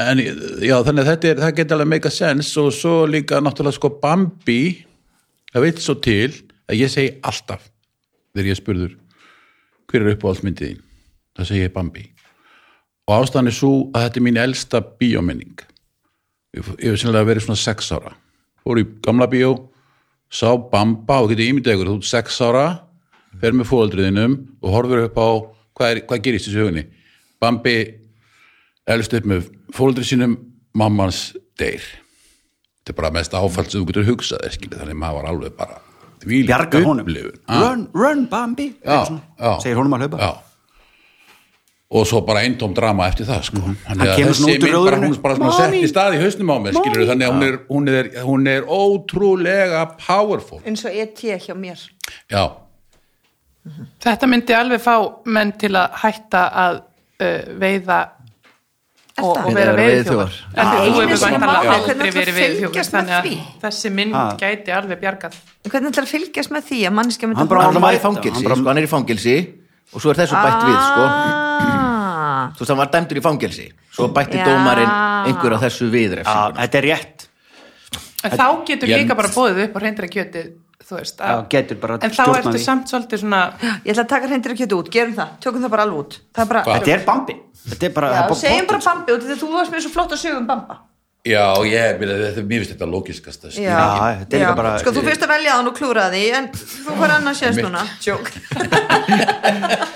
S3: en já þannig að þetta er, það geti alveg make a sense og svo líka náttúrulega sko Bambi það veit svo til að ég segi alltaf þegar ég er spurður hver er uppáhaldsmyndið þín það segi ég Bambi og ástæðan er svo að þetta er mín elsta bíóminning ég ég hef sennilega verið svona sex ára fór í gamla bíó sá Bamba og getur ímyndið ykkur þú ert sex ára, fer með fóaldriðinum og horfir upp á hvað, er, hvað gerist í sögunni Bambi elst upp með fóaldrið sínum mammans deyr þetta er bara mest áfall sem þú getur hugsað þér, skilið, þannig að maður var alveg bara því
S2: bjarga honum
S3: upplifun Ah
S2: run, run Bambi
S3: já,
S2: Eitthvað svona.
S3: já,
S2: segir honum að hlaupa
S3: já. og svo bara eintóm drama eftir það sko. mm -hmm.
S2: Mhm. Hann kemur svona út úr
S3: bara,
S2: röðrinu.
S3: hún er bara svona sett í stað í hausnum á mér skilur, þannig að hún er, hún, er, hún er ótrúlega powerful
S5: eins og ET hjá mér
S3: já,
S4: Þetta myndi alveg fá menn til að hætta að uh, veiða og, og
S5: það?
S1: Vera
S4: vera
S1: veiðiþjófar.
S4: veiðþjófar. En
S5: Já.
S4: þú
S5: Einu
S4: hefur
S5: sinni
S4: væntanlega
S5: má það,
S4: aldrei
S5: hvernig ætlar
S4: verið veiðþjófar
S5: að fylgjast með
S4: þannig að
S5: því?
S4: þessi mynd
S2: Ha.
S4: gæti alveg bjargað.
S5: En hvernig ætlar að fylgjast með því að manneskja myndi
S2: Hann bara-
S5: horfa-
S1: Hann var í
S2: mæta,
S1: fangelsi,
S2: hann bara-
S1: sko, hann er í fangelsi og svo er þessu bætt við, sko.
S5: Ah.
S1: Þú veist, hann var dæmdur í fangelsi, svo bætti
S5: Já.
S1: dómarinn einhver á þessu viðrefsinguna.
S2: þetta er rétt
S4: En þá getur
S3: Ég-
S4: líka bara bóðið upp á reyndra kjöti, þú veist.
S2: Já, getur bara
S4: En þá
S2: stjórnað
S4: ertu
S2: því.
S4: samt svolítið svona,
S5: Ég ætla að taka hreindir að út, gerum það, tökum það bara alveg út Það er bara,
S2: þetta er Bambi þetta er bara,
S5: já,
S2: það er bara
S5: segjum bara
S2: pottur, sko.
S5: Bambi út af því að þú varst með svo flott að sögum Bamba
S3: já ég, mér, þetta, mér finnst þetta logískast
S2: Já, þetta er líka bara-
S5: Sko, þú fyrst að velja hann og klúra því en þú hvar annar sést
S3: Mitt.
S5: núna Jók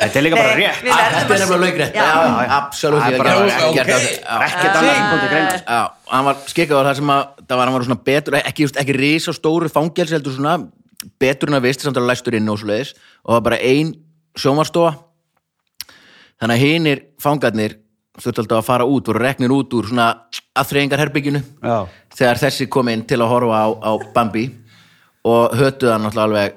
S2: þetta er líka bara rétt
S5: Nei, við-
S1: Ah, Þetta er nefnilega laugrætt,
S5: Já.
S1: já, absolutt,
S2: Það er
S1: ég er
S2: bara-
S1: gert-
S3: ok.
S1: gert af þessu, já.
S2: ekkert annað kom til greina sko.
S1: Já, hann var skikkaður það sem að það var, hann var svona betur, ekki, ekki, ekki risa stóru fangelsi heldur svona betur en að vist samt að læstur inn og svo leiðis og það var bara ein sjómarstofa þannig að hinir fangarnir þurfti alltaf að fara út, voru reknir út úr svona aðþreyingarherbygginu
S2: Já.
S1: þegar þessi kom inn til að horfa á, á Bambi og hötuð hann alltaf alveg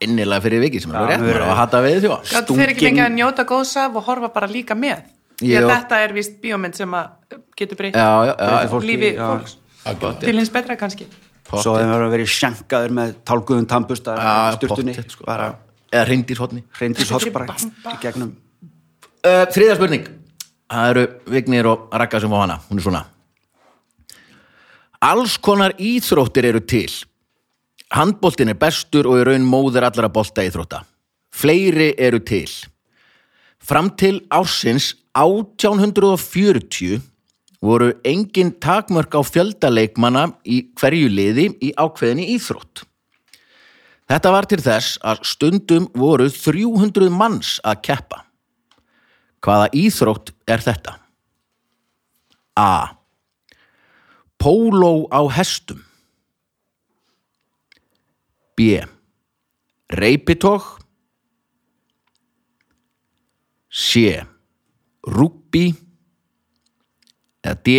S1: innilega fyrir vikið sem er alveg
S2: Já,
S1: rétt,
S2: mjög
S1: maður á
S2: rétt.
S1: að hata við þjóa
S4: gáttu þeir ekki
S2: Stungin-
S4: fengið að njóta góðs af og horfa bara líka með.
S1: Jú.
S4: Ég, þetta er víst bíómynd sem að getur breytt
S1: Já, já, já,
S2: Breytir fólki,
S4: lífi
S2: já.
S4: fólks
S3: já,
S4: til hins betra kannski.
S2: svo hefur verið að verið sjankaður með tálguðum tambusta
S1: Já,
S2: styrtunni
S1: pottet, sko.
S2: bara
S1: eða hreindirhotni
S2: reyndis hot bara í gegnum
S1: Uh, þriðja spurning Það eru Vignir og Ragga sem fá hana Hún er svona Alls konar íþróttir eru til Handbóltin er bestur og er raun móðir allra bolta í þrótta. Fleiri eru til. Fram til ársins 1840 voru engin takmörk á fjöldaleikmanna í hverju liði í ákveðinni íþrótt. Þetta var til þess að stundum voru 300 manns að keppa. Hvaða íþrótt er þetta? A. Póló á hestum B. Reipitog C. Rúbí eða D.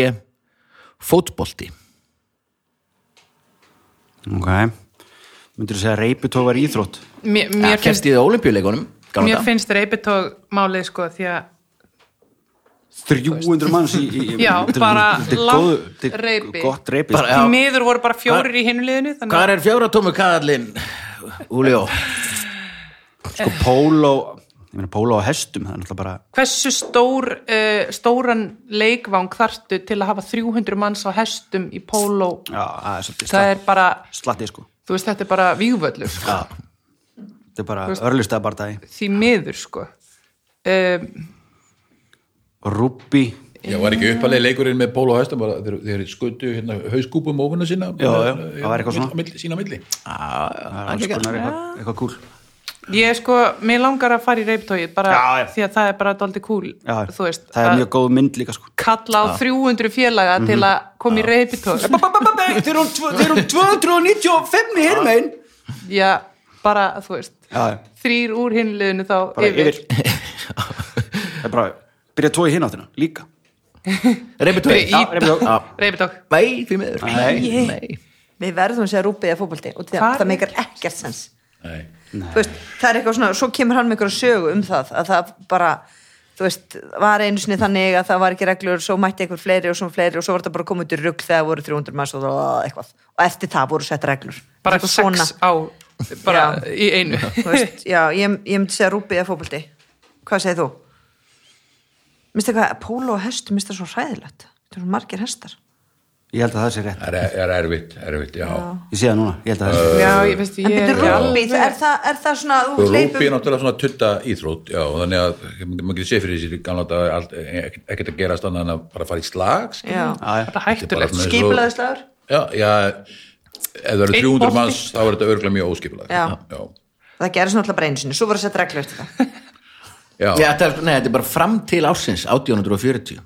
S1: Fótbolti
S2: Ok. Myndir þú segja að reyputók var íþrótt?
S4: Mér,
S1: Já,
S4: mér finnst,
S1: Kemst í það olimpíuleikunum
S4: mér finnst reypitók málið sko því að
S2: 300 manns í... í í-
S4: Já,
S2: þetta er-
S4: bara
S2: þetta er
S4: langt
S2: góð- þetta er
S4: reipi.
S2: Gott reypi.
S1: Bara- Já.
S4: því miður voru bara fjórir í hinu liðinu þannig
S1: Hvar er fjóratómu kallinn, Úljó?
S2: sko póló... Ég meina póló á hestum, það er náttúrulega bara...
S4: hversu stór, uh, stóran leikvang þartu til að hafa 300 manns á hestum í póló
S2: Já, það er svolítið
S4: það er bara,
S2: Slatti, sko.
S4: þú veist þetta er bara vígvöllur sko.
S2: Þetta er bara örlista bara dagi.
S4: því miður sko um,
S2: Og rúbbi.
S3: Ég var ekki uppalega leikurinn með Pól og Hæstum bara þeir, þeir skutu hérna hauskúpum ofuna sína
S2: Já, já,
S3: eh,
S2: það var eitthvað
S3: mill-
S2: svona.
S3: milli, sína milli
S2: Það er alls konar eitthvað- eitthvað kúl.
S4: ég sko, mér langar að fara í reyptóið bara
S2: Já, já.
S4: því að það er bara doldi cool
S2: Já,
S4: þú veist,
S2: það er
S4: að
S2: mjög Mhm. góð mynd líka, sko.
S4: kalla á 300 félaga til að koma í reyptóið
S2: Þeir eru um 295 hér megin.
S4: já, bara, þú veist
S2: Já, já.
S4: þrýr úr hinliðinu þá
S2: bara
S4: yfir.
S2: yfir það er bara byrja tói hinn áttina líka
S1: Reipitog?
S2: Já, reypitók.
S4: reyptók
S1: Nei, því miður.
S2: Nei.
S1: Nei.
S5: Við verðum að segja rúbið eða fótbolti og það,
S4: Hvar
S5: það
S4: er-
S5: meikar ekkert sens
S3: Nei.
S5: Þú veist, það er eitthvað svona, svo kemur hann með einhverja sögu um það að það bara, þú veist, var einu sinni þannig að það var ekki reglur svo mætti einhver fleiri og svo fleiri og svo var það bara komið út í rugg þegar voru 300 manns og það- eitthvað og eftir það voru sett reglur
S4: bara
S5: Eitthvað
S4: sex á bara í einu
S5: þú veist, já, ég, ég myndi segja rúbið eða fótbolti hvað segir þú? Minnst eitthvað, póló og hestu minnst það svo hræðilegt það eru svo margir hestar
S2: ég held að það sé rétt,
S3: Það er, er erfitt, erfitt, já,
S2: ég sé það núna ég held að það sé
S4: já, ég veist,
S5: en
S4: ég
S5: byrju
S4: er
S5: rúbið, er, það- er það svona þú
S3: Og
S5: hleypur-
S3: Rúbi er náttúrulega svona tutta íþrótt já, og þannig að ég- maður getur séð fyrir sér í gamla daga allt- e- ekkert ekkert að gerast annað en að bara fara í slag skilur.
S5: já,
S4: bara
S3: Þetta er bara svona
S4: hættulegt
S3: eins og-
S5: skipulaðislagur
S3: Já, já, ef það eru
S4: Einn
S3: 300
S4: bolti.
S3: manns þá er þetta örgulega mjög óskipulag
S5: Já.
S3: já,
S5: það gerist náttúrulega bara einu sinni, svo voru sett reglur eftir það
S3: já.
S1: Já, þetta er, nei, þetta er bara fram til ársins 1840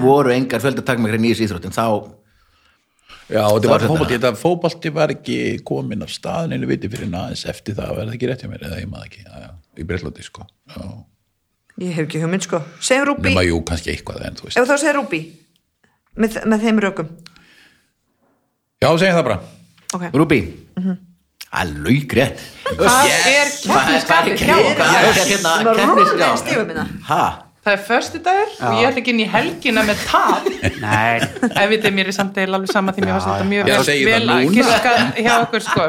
S1: voru engar fjöldatakmækri nýjus íþróttin þá
S3: já og þetta
S1: Það
S3: var
S1: er
S3: fótbolti
S1: þetta.
S3: þetta fótbolti var ekki komin af staðinu viti fyrir aðeins eftir það, er það ekki rétt hjá mér eða ég maður ekki, já, já, í Breitlandi sko já.
S5: Ég hef ekki hugmynd sko. Segjum Rúbí,
S3: nema jú, kannski eitthvað en þú veist
S5: ef þá segir Rúbí með, með þeim rökum.
S3: já, segjum það bara
S5: Okay.
S1: Rúbí Mhm. Það er laugrétt
S4: það er keppniskapið hjá okkur.
S1: Hvað er hérna
S5: Það var rúlega
S1: keppnisskap?
S5: stífum minna.
S1: Ha?
S4: það er föstudagur og ég ætla ekki inn í helgina með tap
S2: nei,
S4: ef við þeim mér er samt eil alveg sama því mér var þetta mjög
S3: Ég
S4: vel-
S3: segi það
S4: vel að
S3: núna.
S4: giska hjá okkur sko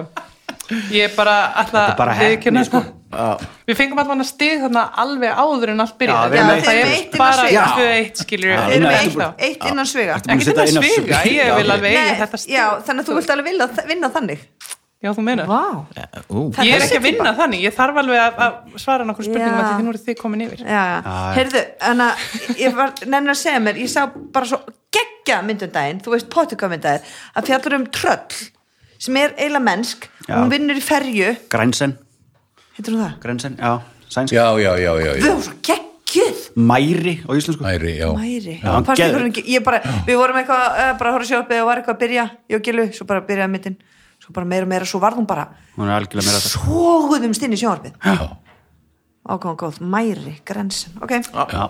S4: ég bara ætla
S2: Þetta er bara
S4: að viðurkenna
S2: heppni, sko.
S4: það. við fengum allan að stig þarna alveg áður en allt
S2: Já,
S4: byrjaði
S2: við erum eitt.
S4: Þannig að það
S5: Þeim
S4: er
S5: eitt inn á
S4: bara
S5: sviga.
S4: 2-1 skilur
S5: Þeir eru
S2: Nei,
S5: með
S2: ertu
S4: við
S2: búin-
S5: eitt, eitt innan sviga.
S2: ertu búin-
S4: ekki
S2: Setja
S4: þetta
S2: inn á
S4: sviga,
S2: sviga.
S4: ég vil alveg eiga
S5: Nei,
S4: þetta stig
S5: já, þannig að þú vilt alveg vilja, vinna þannig.
S4: já þú meina
S5: Vá.
S1: Ú,
S5: Það
S4: ég er ekki
S5: þessi
S4: að vinna þannig, ég þarf alveg að, að svara nokkur spurningum
S5: Já.
S4: að því nú eru þið komin yfir
S5: Já, já.
S2: já.
S5: Heyrðu, en að ég var nefnir að segja mér, ég sá bara svo geggja myndundaginn, þú veist potukamyndaginn, að fjallur um tröll sem er eiginlega mennsk,
S2: Já.
S5: hún vinnur í ferju,
S2: grænsen
S5: heitir hún það?
S2: grænsen, já, sænsk
S3: já, já, já, já,
S5: Þau
S3: já.
S5: var svo geggjuð!
S2: mæri á íslensku
S3: Æri, já.
S5: Mæri,
S2: Já, hann
S5: Fannst
S2: geðveik.
S5: ykkur hann ekki- ég bara, við vorum eitthvað eh, bara að horfa sjópið og var eitthvað að byrja ég og Gilu, svo bara byrjaði myndin svo bara meira og meira, svo varð hún bara
S2: hún er algjörlega meira þetta
S5: svoguðumst inn í sjónvarpið
S3: Já.
S5: ákvæðan góð, mæri, grensin ok,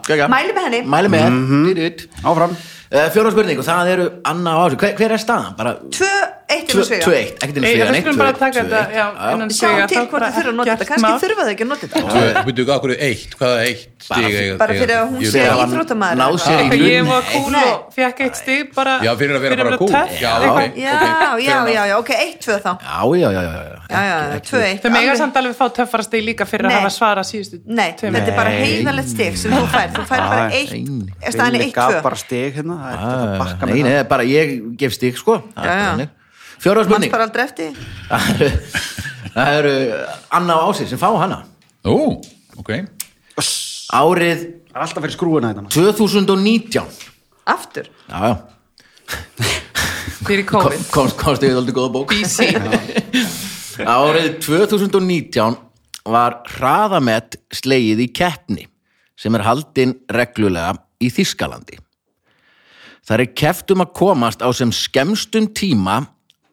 S1: geggjað.
S5: mæli með henni
S1: Mæli með
S4: Mhm.
S1: mm
S2: áfram,
S1: Fjóra spurning og það eru Anna og Ási hver, hver er staðan? Bara
S5: 2-1 inn á sviga
S1: 2-1, ekkert inn í
S4: Ei,
S1: sviga
S4: við
S1: neitt,
S4: skulum
S1: 2-1,
S4: bara taka þetta
S1: 2-1.
S4: já, innan
S5: við sjáum
S4: sviga,
S5: til
S4: þá
S5: hvort
S4: bara
S5: þau þurfa að nota
S4: ekkert
S5: þetta kannski
S4: mál.
S5: þurfa þau ekki að nota þetta
S3: Þú veitum ekki okkur eitt, hvaða eitt stig eiga-
S5: bara
S3: eiga-
S5: fyrir að hún
S3: Ég-
S5: sé
S3: Já,
S1: Þegar hann
S5: íþróttamaður
S1: náð
S5: eða
S1: sér í
S4: Eitthvað,
S1: lunn.
S4: ég var kúl
S5: Nei.
S4: og fekk eitt stig bara
S3: Já, fyrir að vera bara kúl.
S4: töff,
S3: Já,
S4: eitthvað.
S3: ok.
S5: já, já, já, já, ok, 1-2 þá
S1: Já, já, já, já, já.
S5: já, já, 2-1
S4: þau mega
S5: Alveg-
S4: samt alveg fá töffara stig líka fyrir
S5: Nei.
S4: að hafa svarað síðustu
S5: nei,
S4: tveimur.
S5: þetta er bara heiðalegt stig sem þú fær, þú fær bara
S2: Nei.
S5: 1 staðan
S2: Billy
S5: er
S2: gaf
S5: 1-2
S2: bara steg hérna það er
S1: Ah,
S2: þetta að bakka
S1: Nei,
S2: með
S1: nei, bara ég gef stig sko Það er
S5: Já, já.
S1: bara þannig. Fjóra
S5: manns
S1: spurning
S5: bara aldrei eftir
S1: Það eru, [LAUGHS] það eru Anna og Ási sem fá hana
S3: Ó, ok.
S1: Árið
S2: Það er alltaf fyrir hérna, skrúina þetta.
S1: 2019
S5: aftur,
S1: Já, já
S4: fyrir
S1: Kom-
S4: COVID
S1: komst, komst yfir aldrei góða bók
S4: BC
S1: Árið 2019 var hraðamett slegið í keppni sem er haldin reglulega í Þískalandi. Þar er keppt um að komast á sem skemmstum tíma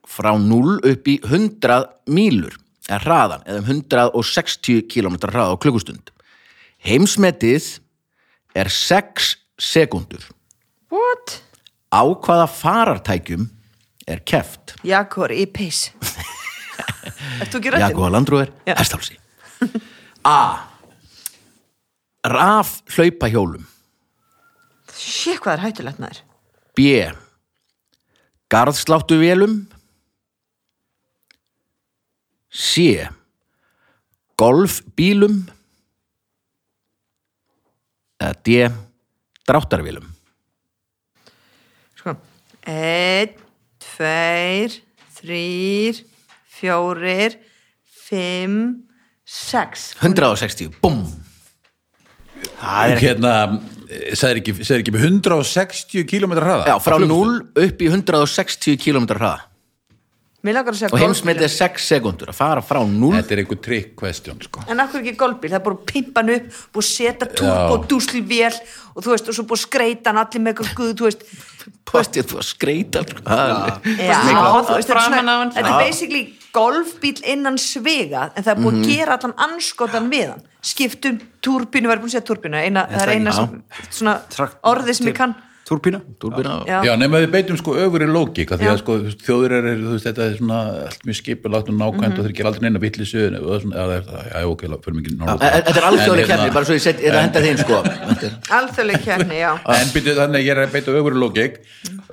S1: frá 0 upp í 100 mílur eða hraðan eða um 160 km hraða á klukkustund. Heimsmetið er 6 sekundur.
S5: what?
S1: Á hvaða farartækjum er keppt?
S5: Jakor í
S1: [LAUGHS]
S5: peys Ert þú ekki rættin?
S1: Jakob Landrúður,
S5: Já.
S1: hestálsi A Raf hlaupahjólum
S5: Sér hvað það er hættulegt maður
S1: B Garðsláttuvélum C Golfbílum eða D Dráttarvélum
S5: Sko, einn, tveir, þrýr, fjórir, fimm, sex.
S1: 160, búm
S2: Það er
S3: Hérna, segir ekki, segir ekki með 160 km hraða?
S1: Já, frá 0 upp í 160 km hraða
S5: Mér langar að segja
S1: og heimsmetið er
S5: golfbíl.
S1: 6 sekundur að fara frá 0
S3: Þetta er einhver trick question, sko.
S5: En akkur ekki golfbíl, það er búið að pimpa hann upp, búið að setja turbo
S3: Já.
S5: dúsli vel og þú veist, og svo búið að skreita hann allir með eitthvað guð, þú veist.
S1: Postið þú að skreita sko. Það er-
S5: Já,
S4: mikilvægt.
S5: þú veist, þetta er
S4: Framan á
S5: svona,
S4: hann.
S5: þetta er basically golfbíl innan svega, en það er búið að gera allan anskotan við hann. Skiptum turbínu, verður búin að segja turbínu, eina, það er
S2: það-
S5: eina
S1: já.
S5: sem, svona
S2: Trakt-
S5: orðið sem ég kann.
S2: Túrbína.
S1: Túrbína
S5: Já.
S3: Já, nema við beitum sko öfri lógik að því að
S5: Já.
S3: sko þjóðurar eru, þú veist, þetta er svona allt mjög skipulagt og nákvæmt
S5: Mhm.
S3: og þeir gera aldrei neina vitlisu en það er svona, já, það er það, já, ok, fyrir mikið
S1: E- e- Þetta er alþjóðlega
S3: hérna-
S1: kemni, bara svo ég set, er að henda þeim sko
S5: Alþjóðleg keppni, já.
S3: Ah. En byrju þannig að ég er að beita öfri lógik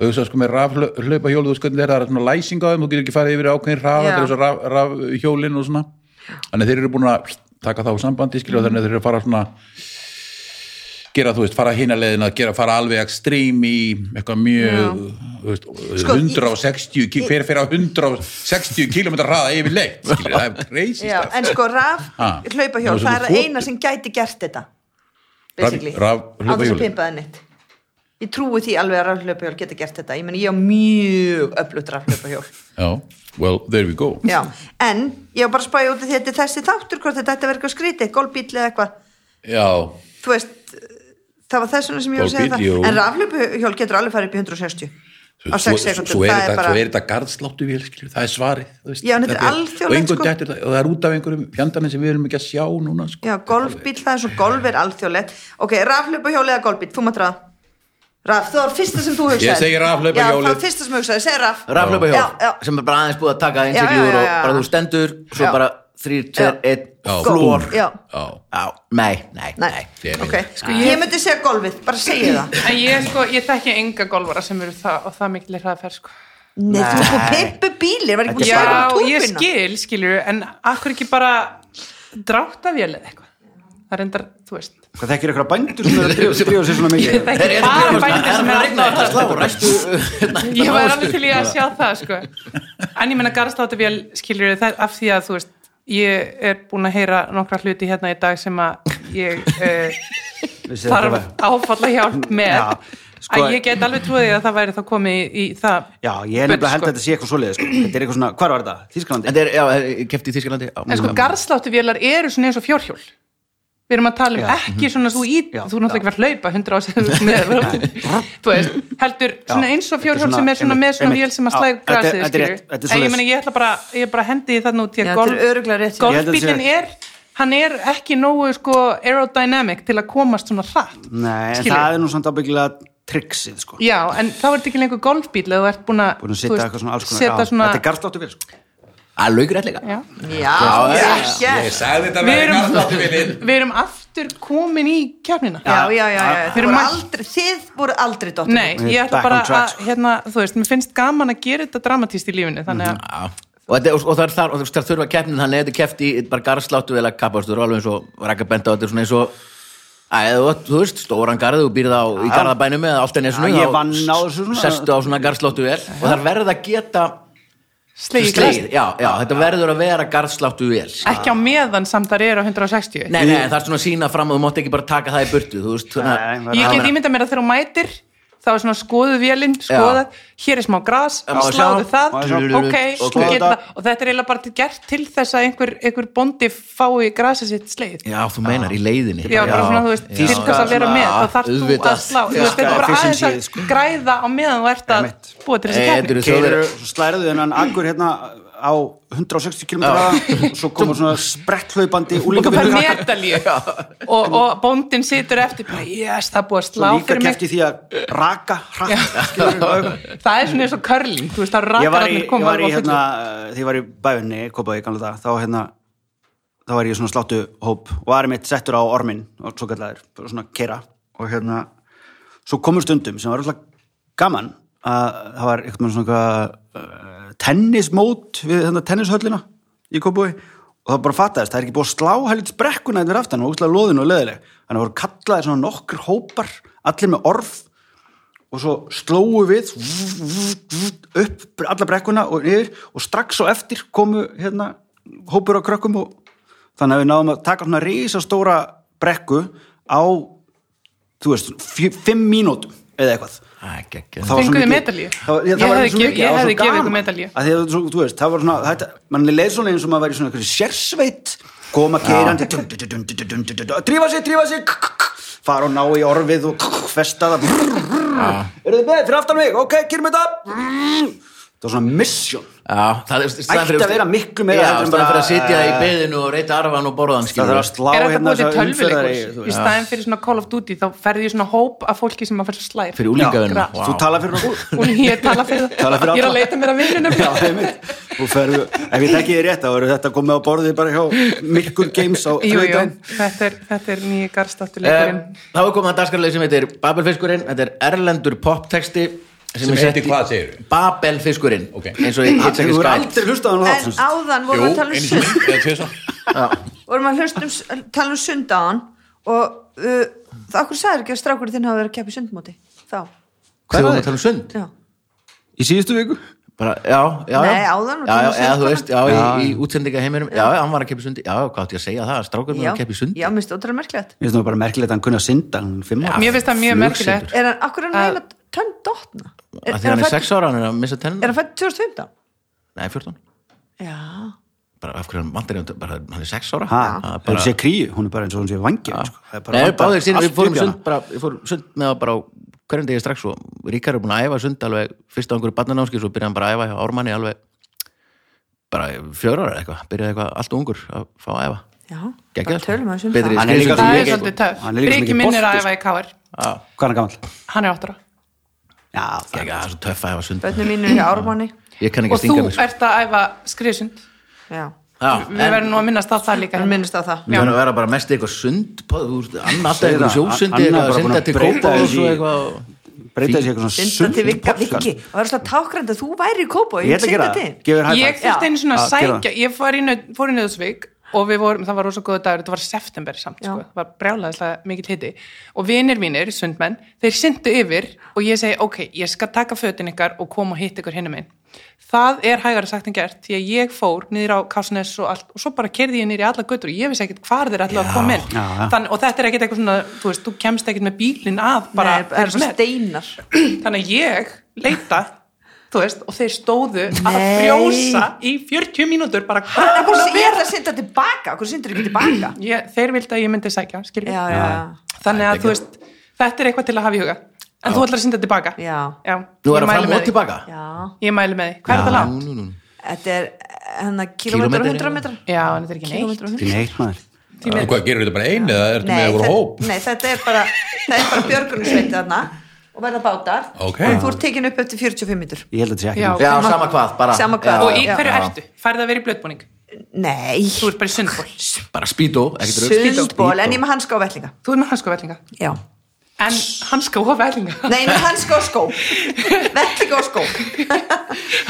S3: og þú veist sko með rafhlaupa hjólu þú veist hvernig þeir það er svona læsing á þeim, þú getur ekki farið yfir ákveðin raf,
S5: Já.
S3: þetta er þess að rafhjólin og svona, þannig að þeir eru búin að taka þá sambandi,
S5: Mm.
S3: skilja, þannig að þeir eru að fara svona gera, þú veist, fara hina leiðina, gera, fara alveg ekstrím í eitthvað mjög þú veist,
S5: Sko,
S3: 160, ki- hver fyrir á 160 km hraða yfirleitt, skilja, það er crazy
S5: Já,
S3: stuff.
S5: en sko raf
S3: Ah.
S5: hlaupahjól,
S3: Nú, sem
S5: það er
S3: þú
S5: það
S3: þotur.
S5: eina sem gæti gert þetta
S3: Raf-
S5: basically,
S3: rafhlaupahjólið.
S5: á þess að pimpaði neitt ég trúi því alveg að raf hlaupahjól geta gert þetta, ég meni ég á mjög öflugt raf hlaupahjól
S3: Já, well, there we go
S5: Já, en ég var bara að spæja út af því að þetta er þessi þáttur hvort þetta ætti að vera eitthvað skrítið, golfbíll eða eitthvað
S3: Já,
S5: þú veist, það var þess vegna sem ég var að segja
S3: Golfbíll, jú.
S5: það en raflöpuhjól getur alveg farið upp í 160 á
S3: Svo-
S5: 6
S3: svo-
S5: sekundum,
S3: svo er
S5: það er
S3: þetta, svo
S5: bara
S3: er þetta garðsláttu vél skilur, það er svarið þú veist.
S5: Já, en þetta er
S3: og,
S5: alþjóðlegt,
S3: engum
S5: sko.
S3: dettur, það- og það er út af einhverjum fjandarnir sem við erum ekki að sjá núna sko.
S5: Já, golfbíll, það er svo golf er alþjóðlegt Ok, rafhlaupahjóli eða golfbíll, þú maður ráða Raf, það var fyrsta sem þú hugsaði
S3: Ég segi rafhlaupahjólið.
S5: Já, það var fyrsta sem hugsaði, segir raf
S1: Raflöpa
S5: Já, já.
S1: hjól sem er bara aðeins búið að taka
S5: já,
S1: intervjúur
S5: já,
S1: og
S5: já.
S1: bara þú stendur svo
S5: Já.
S1: bara 3, 2, 1
S3: Já.
S1: flór
S5: Já,
S3: Já.
S1: Já, nei, nei,
S5: nei,
S1: nei
S3: Ég-
S5: ok sko, ég... myndi segja golfið, bara segja það
S4: en ég sko, ég þekki enga golfara sem eru það og það mikil er það að fer sko
S5: Nei, þú er búið að pippu bílir, var ekki búið að svara
S4: Já,
S5: um
S4: ég
S5: túrbina
S4: skil, skilur en akkur ekki bara dráttavél eða eitthvað það er endar, þú veist
S2: Hvað þekkir eitthvað bændur sem eru að drífa- drífa sér svona mikið?
S4: það
S1: Herri,
S4: er
S1: ég
S4: ekki
S1: ætla að
S4: bara
S1: gera svona,
S4: bændur sem
S1: það
S4: er
S1: að regna
S4: alltaf
S1: þetta slá ræstu hérna,
S4: Ég
S1: hérna,
S4: var
S1: ástu.
S4: alveg til í að sjá það sko. En ég menna garðsláttuvél skilur það af því að þú veist ég er búin að heyra nokkra hluti hérna í dag sem að ég uh,
S2: Vissi þetta
S4: þarf
S2: var-
S4: áfalla hjálp með
S2: Já, sko-
S4: að ég get alveg trúið því að það væri þá komið í, í það
S2: Já, ég er nefnilega
S4: bull,
S2: held að
S4: sko.
S2: þetta sé eitthvað svoleiðis. sko. Þetta er eitthvað svona, hvar var þetta? Þísklandi?
S1: Þetta er, já, ég kefti í Þískalandi
S4: En
S2: Mm.
S4: sko garðsláttuvélar eru svona eins og fjórhjól Við erum að tala um
S2: Já.
S4: ekki svona þú ít,
S2: Já.
S4: þú er náttúrulega ekki verið að hlaupa hundra á sig
S2: [LAUGHS]
S4: með, þú veist, heldur svona eins og
S2: þetta er
S4: fjórhjól
S2: svona-
S4: sem er svona með svona
S2: einmitt,
S4: vél sem að
S2: já,
S4: slæg
S2: þetta er-
S4: grasið,
S2: þetta er rétt, þetta er
S4: skilur En ég
S2: svoleiðis.
S4: meni, ég ætla bara, ég bara hendi því þannig út
S5: Já,
S4: til
S5: þetta er örugglega rétt hjá þér.
S2: Ég held að þetta sé
S4: golfbílinn er, hann er ekki nógu sko aerodynamic til að komast svona hratt
S2: Nei, en
S4: skilur.
S2: það er nú svona ábyggilega triksið, sko.
S4: Já, en þá er þetta ekki lengur golfbíl eða þú ert búin að
S2: Búin að
S4: þú
S2: setja
S4: veist,
S2: eitthvað svona alls konar.
S4: setja
S2: já,
S4: svona-
S2: Þetta er garðsláttu vel, sko.
S1: Að laukur ætlega
S4: Já.
S5: Já, yes, yes
S3: sagði þetta
S4: Við erum-
S3: garðsláttu vélin
S4: Við erum aftur komin í kjafnina
S5: Já, já, já, já,
S4: Fyrir
S5: þið voru
S4: mann-
S5: aldrei, þið voru aldrei dottir
S4: Nei,
S2: Við
S4: ég ætla
S2: back
S4: bara
S2: on track,
S4: að,
S1: sko.
S4: hérna, þú veist, mér finnst gaman að gera þetta dramatíst í lífinu, þannig
S1: Mm.
S4: að
S1: Og, þetta, og, og það er þar, og það er þurfa keppnin þannig að þetta kefti í bara garðsláttu vel að kappastur alveg eins og rakka benda á þetta er svona eins og að þú, þú veist, stóran garð þú býrð á í garðabænum eða allt enn
S2: Já, ég vann á þessu svona.
S1: sestu á svona garðsláttu vel og það verða að geta
S4: Slegið.
S1: Slegið, já, já, þetta verður að vera garðsláttu vel
S4: ekki á meðan samt þar eru á 160
S1: Nei, nei, það er svona að sína fram og þú mátt ekki bara taka það í burtu, þú veist svona,
S2: Nei, maður-
S4: ég get ímyndað mér að þegar þú mætir þá er svona skoðu vélinn, skoðað hér er smá gras,
S1: Já, maður
S4: sláðu
S1: sjá.
S4: það
S2: Maður
S1: sjá.
S4: ok,
S1: Ok.
S4: svo geta og þetta er eiginlega bara til- gert til þess að einhver, einhver bondi fái grasa sitt sleið
S1: Já, þú meinar, í leiðinni
S4: Já, bara svona, þú veist,
S1: já,
S4: til þess að
S1: já,
S4: vera með þá þarf þú
S1: auðvitað.
S4: að slá, þú veist, þetta er bara
S2: efficiency,
S4: aðeins að
S2: sko.
S4: græða á meðan þú ert að
S2: Einmitt.
S4: búa til
S1: Nei,
S4: þessi
S1: þetta eru
S4: keppni
S2: Keirir,
S1: þjóðverið
S2: svo slæriðu hennan akkur hérna á 160 km svo koma svona spretthlaupandi
S4: og þú
S2: úlíka
S4: fær medalíu og, og bóndin situr eftir bara, yes, það er búið að slá
S2: líka
S4: fyrir mig
S2: kefti því að raka hratt [LAUGHS] skilurðu.
S4: það er svona eins og curling, þú veist, það
S2: ég var í,
S4: [LAUGHS] rakararnir
S2: ég
S4: koma
S2: var í
S4: alveg á
S2: hérna, því ég var í bæunni kopaði í gamla dag, þá hérna þá var ég í svona sláttu hóp og var mitt settur á ormin og svo kallar svona keira og hérna svo komur stundum sem var alltaf gaman að það var eitthvað svona uh, tennismót við þennan tennishöllina í kopaði og það bara fattaðist, það er ekki búið að slá helvits brekkuna þetta verið aftan og útlaði loðin og leðileg þannig að voru kallaðir svona nokkur hópar allir með orð og svo slóu við upp alla brekkuna og niður og strax og eftir komu hérna, hópur á krökkum og þannig að við náðum að taka svona risastóra brekku á þú veist, fjö- fimm mínútum eða eitthvað
S1: Æ,
S2: Það var svo
S4: Fenguð þið
S2: mikið-
S4: medalíu?
S2: Það var- já, það
S4: Ég
S2: var
S4: hefði
S2: svo
S4: gef-
S2: mikið,
S4: ég
S2: það var svo
S4: hefði gefið
S2: gaman.
S4: ykkur medalíu.
S2: Af því að þú- þú veist, það var svona þetta, mann leið svona eins og maður væri í svona einhverju sérsveit koma keirandi dum, dum, dum, dum, dum, dum, dum, drífa sig, drífa sig k- k- k- fara og ná í orfið og k- k- festa það eru þið með, fyrir aftan mig ok, kýrum þetta það var svona mission
S1: Já, það er staðan
S2: Ætti að vera miklu meira
S1: Já,
S2: heldur en
S1: staðan fyrir
S2: bara-
S1: að sitja í beðinu og reyta arfan og borðan
S2: það
S1: skilur
S2: þarf að
S1: við.
S2: slá hérna
S4: er þetta búið til
S2: þessa umferðar- þú
S4: tölvuleikur í
S2: veist.
S4: staðin fyrir svona Call of Duty þá ferði ég svona hóp af fólki sem að fara svo slæð
S1: Fyrir úlingavinna
S4: gras.
S2: þú tala fyrir okkur [LAUGHS]
S4: og ég tala fyrir
S2: Tala
S4: það
S2: fyrir
S4: ég er
S2: alla.
S4: að leita mér að vinnunum
S2: Já, einmitt. og ferðu, ef ég tekki þið rétt þá eru þetta komið á borðið bara hjá Mirkur Games á
S4: jú, jú,
S2: þriðjudaginn.
S4: þetta er, þetta er nýja
S1: Um,
S4: garstáttuleikurinn
S1: Þá er komið að dagskarlega sem heitir Babelfiskurinn Þetta er erlendur poptexti
S3: Sem
S1: er
S3: heitir
S1: sett í-
S3: hvað, segirðu?
S1: Babelfiskurinn
S3: Ok.
S1: eins og í
S2: Þú
S1: Hitchhiker's
S2: hefur
S1: Guide
S2: aldrei hlustað á hann á
S5: en
S2: þátt sem sagt.
S5: áðan
S3: Jú,
S5: vorum við að tala um
S3: einu
S5: sund
S3: sinni, eða tvisa
S5: vorum að hlusta um, tala um sundaðan og uh, það okkur sagði ekki að strákur þinn hafa verið að keppa í sundmóti þá,
S1: Hvað
S2: var
S1: er
S2: það?
S1: það um sund?
S5: já,
S2: Í síðustu viku?
S1: Bara, já, já, já.
S5: Nei, áðan var
S1: já, já, eða,
S5: komið
S1: þú
S5: söngkona.
S1: veist, já, Í, í útsendingaheiminum já, já, hann var að keppi sundi, já, hvað átti ég að segja það strákur var
S5: já,
S1: að keppi sundi
S5: já, mér finnst ótrúlega merkilegt
S2: Mér finnst það bara merkilegt að hann kunni að synda hann er fimm ára.
S4: mér finnst það mjög
S1: flugsindur.
S4: merkilegt
S5: er hann, akkur er hann
S4: Að-
S5: eiginlega tönn dotna er,
S1: að því hann er
S5: fædd-
S1: 6 ára, hann er að missa
S5: er
S1: tennan
S5: hann fætt 2015?
S1: nei, 14,
S5: já,
S1: bara af hverju hann vantar hann, bara, hann er 6 ára
S2: Ha,
S1: Það er
S2: bara... Hún sé kríu, hún er bara eins og hún sé vangi sko. Það er bara
S1: Nei,
S2: vandað
S1: báðir síðan, við
S2: allt
S1: fórum
S2: upp í hana.
S1: sund bara, við fórum sund með það bara á hverjum degi strax og Ríkar er búin að æfa sund alveg fyrst á einhverju barnanámski, svo byrjaði hann bara að æfa hjá Ármanni alveg bara fjögur ára eða eitthvað, byrjaði eitthvað allt ungur að fá að æfa
S5: já,
S1: Geggjað,
S5: bara
S1: sko.
S5: tölum um að
S1: Betri-
S5: sunda
S2: Hann er líka
S4: það
S2: svo
S4: er
S2: mikið-
S4: svolítið töf
S2: Hann er líka svo
S4: Breki
S2: mikið
S4: minn er að
S2: bolti, sko.
S4: æfa í KR
S2: Hvað er hann gamall?
S4: hann er áttur á
S2: Já, það
S1: Ekki, það er svo töff að æfa sund
S5: bönnum mínu er í ármanni
S1: Ég kann ekki
S4: og
S1: að
S4: þú
S1: stinga mig sko.
S4: ert að æfa skriðsund
S5: já,
S1: Já,
S4: við
S1: en-
S4: verðum nú að minnast á það líka
S5: hann minnst á það
S1: Við verðum að vera bara mest eitthvað sund Pá, Þú veist, annað alltaf
S2: Segðu
S1: eitthvað
S2: það,
S1: sjósundi
S2: Anna
S1: eitthvað að
S2: bara búin
S1: synda
S2: að
S1: til
S2: breyta
S1: kópa og
S2: þessu
S1: svo
S2: í-
S1: eitthvað
S2: breytaði sér eitthvað svona
S5: Synda til vikka,
S2: podcast.
S5: vikki og það er alltaf tákrand að þú væri í kópa og
S2: Ég ætla að gera það, gefur hægt
S4: ég
S5: Já.
S4: þurfti einu svona að
S2: Að gera
S4: sækja ég fór í, nöð, fór í nöðsvík og við vorum, það var rosa góða dagur, þetta var september samt
S5: Já.
S4: sko, það var brjálaðislega mikill hiti og vinir mínir, sundmenn, þeir syndu yfir og ég segi, ok, ég skal taka fötin ykkar og koma og hitt ykkur hinum einn það er hægara sagt en gert því að ég fór niður á Kásnes og allt og svo bara kerði ég niður í alla göttur og ég vissi ekkert hvar þeir ætlaðu að koma inn
S2: Já, já.
S4: Þann, og þetta er ekkert eitthvað svona, þú veist, þú kemst ekkert með bílinn að bara,
S5: bara, Nei, bara,
S4: þeim sem
S5: bara steinar
S4: þannig að ég leita þú veist, og þeir stóðu að
S5: Nei.
S4: frjósa í 40 mínútur bara hvað er
S5: Ég
S4: búin að vera
S5: ætla að synda tilbaka, okkur syndur ekki tilbaka
S4: ég, þeir vildi að ég myndi sækja, skiljum
S5: Já, já, já.
S4: þannig að þú veist, þetta er eitthvað til að hafa í huga en þú ætlar að synda tilbaka
S5: Já.
S4: já.
S1: Nú
S4: Ég
S1: er það
S4: mæli
S1: fram
S4: með
S1: og
S4: því.
S1: tilbaka
S5: Já,
S4: ég mæli með því, hvað er þetta langt?
S1: Nú, nú, nú.
S5: þetta er hennar kilómetra og
S1: Kílómetri,
S5: hundra
S1: já.
S5: metrar
S4: já, en þetta er ekki neitt
S5: Kílómetra og
S2: Ekki neitt maður
S3: Og hvað, gerir þetta bara einu eða ertu með
S5: þetta,
S3: voru hóp?
S5: nei, þetta er bara það er bara björgunarsveitið þarna og verða bátar
S3: Ok.
S5: og þú ert tekin upp eftir 45 minnur
S2: Ég held að þetta sé
S4: Já.
S2: ekki
S1: Já, sama hvað, bara
S5: Sama hvað.
S4: og í
S1: já.
S4: hverju
S1: Já.
S4: ertu? færðu að vera í blöðbúning?
S5: Nei,
S4: þú ert bara í sundból
S1: Bara spýtó, ekkert rugl.
S5: sundból, en ég með hanska og vellinga
S4: þú er með hanska og vellinga
S5: Já,
S4: en hanska og vellinga
S1: [LAUGHS]
S5: nei, ég með hanska og skó vellinga og skó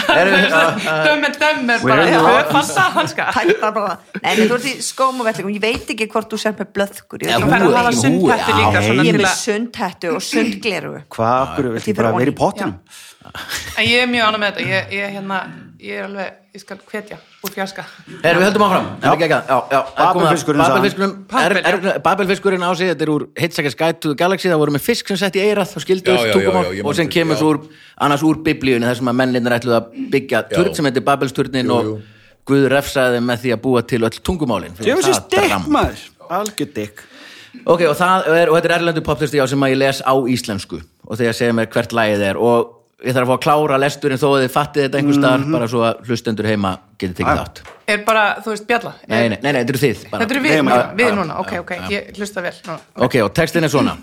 S4: döm en döm er
S2: We're in the
S4: bara
S2: wrong-
S4: fasta hanska
S5: Tættar bara. Nei, nei, þú ert í skóm og vellinga ég veit ekki hvort þú sér með blöðkur
S1: Já,
S5: ég,
S4: þú
S5: veit
S1: húfu,
S4: færðu að hafa
S1: ekki húfu,
S4: sundhætti
S1: já.
S4: líka svona
S5: ekki. ég er
S4: til
S5: með
S4: að
S5: sundhettu og sundgleru
S2: Hvað, af hverju,
S5: Því
S2: viltu
S5: fyrir
S2: bara vera í
S5: ofan.
S2: pottinum?
S4: En ég er mjög ánægð með þetta, ég, ég, hérna, ég er alveg, ég skal hvetja úr fjarska
S1: Herra, við höldum áfram. Já. Já, já, það er komið að-
S2: Babelfiskurinn sagði hann.
S1: Babelfiskurinn er,
S4: Babel,
S1: er, Babelfiskurinn á sig, þetta er úr Hitchhiker's Guide to the Galaxy, það voru með fisk sem sett í eirað og skildu
S3: Já,
S1: upp
S3: já, já,
S1: tungumál
S3: já, ég
S1: og
S3: man
S1: sem
S3: eftir,
S1: kemur
S3: já.
S1: svo úr, annars úr biblíunni þar sem að menninir ætluðu að byggja
S3: Já.
S1: turn sem heitir Babelsturnin
S3: Jú,
S1: og
S3: jú.
S1: Guð refsaði þeim með því að búa til öll tungumálin.
S2: Ég veist þessi
S1: dram.
S2: dikk maður, algjör dikk
S1: Ok, og, það er, og þetta er erlendu poptesti já sem að ég les á íslensku og þegar segja mér hvert lagið er og ég þarf að fá að klára lesturinn þó að þið fattið þetta einhvers staðar
S2: Mhm.
S1: bara svo að hlustendur heima getið tekið
S2: Já.
S1: þátt.
S4: er bara, þú veist, bjalla er,
S1: Nei, nei, nei, nei, þetta eru þið. bara.
S4: þetta eru við,
S2: Nei,
S4: núna,
S2: maður-
S4: við
S1: já,
S4: núna, ok,
S1: já,
S4: ok, ég hlusta vel núna.
S1: Ok, og textin er svona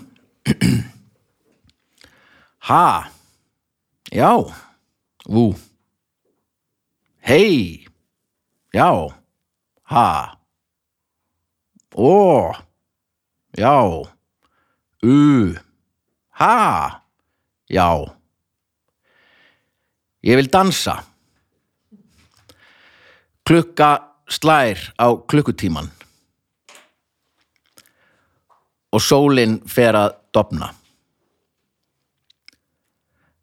S1: Ha Já Vú Hei Já Ha Ó Já U Ha Já Ég vil dansa Klukka slær á klukkutíman og sólinn fer að dopna.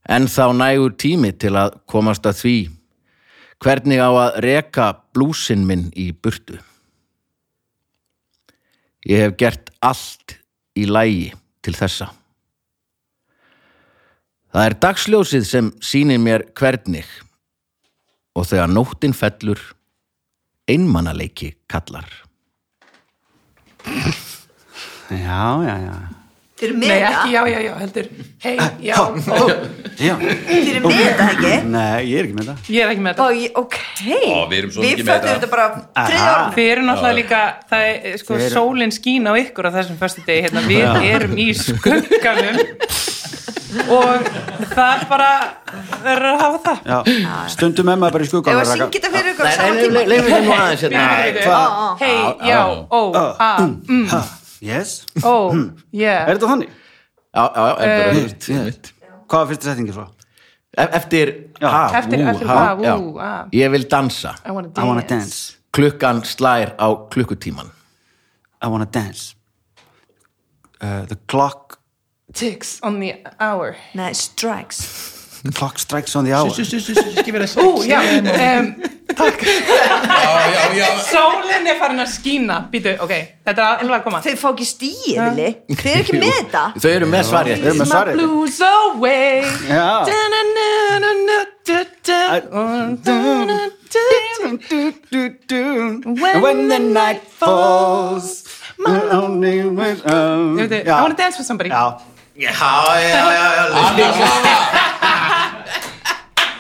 S1: En þá nægur tími til að komast að því hvernig á að reka blúsinn minn í burtu. Ég hef gert allt í lægi til þessa. Það er dagsljósið sem sýnir mér hvernig og þegar nóttin fellur einmanaleiki kallar.
S2: Já, já, já
S5: Þeir eru með
S4: nei,
S5: það,
S4: ekki, já, já, já, heldur hei, já, ó,
S2: Já,
S5: þeir eru með það ekki
S2: nei, ég er ekki með það
S4: ég er ekki með
S5: Ó,
S4: þetta
S5: ég, ok
S3: Ó, við erum svo mikið með
S5: föllum
S3: þetta.
S5: þetta bara þriðja
S2: Aha.
S5: orðinu
S4: Þið eru náttúrulega líka, það er, sko,
S2: Þið eru-
S4: sólinn skín á ykkur á þessum föstu degi, hérna, við erum í skugganum og það er bara, það er að hafa það.
S2: já. Stundum með maður bara í skugga
S5: Ef að syngja þetta fyrir ykkur á
S1: Nei,
S5: saman
S1: nei,
S5: tíma
S1: nei, leifum þetta nú aðeins hérna.
S5: Á, á.
S4: Hei, já, ó, a, mm,
S2: Ah. Yes,
S4: ó,
S2: er
S4: yeah.
S2: þetta þannig?
S1: Já, já, já, er bara
S4: Eh,
S1: þú veist.
S2: Hvað var fyrsta settingin svo?
S1: E- Eftir
S2: Já.
S1: ha,
S4: Eftir-
S1: ú,
S4: eftir
S1: ha,
S4: ha, ú,
S1: já.
S4: ha.
S1: Ég vil dansa
S4: I wanna
S2: I wanna
S4: dance.
S2: dance
S1: Klukkan slær á klukkutíman
S2: I wanna dance uh, The clock
S4: Ticks on the hour.
S5: Nei, strikes
S2: The clock strikes on the hour
S4: Ú, já, um,
S3: Já, já, já,
S4: sólinn er farin að skína, býtu, ok, þetta er alveg að koma.
S5: Þeir fá ekki stíið, Vili Þeir eru ekki með þetta
S1: Þau eru með svar
S2: Við erum
S1: rétt
S2: með
S4: My
S2: svarið
S4: blues away
S2: Já.
S4: When the night falls,
S2: my only way out.
S4: Ég veit, I wanna dance with somebody
S2: Já,
S1: Já, já, já, já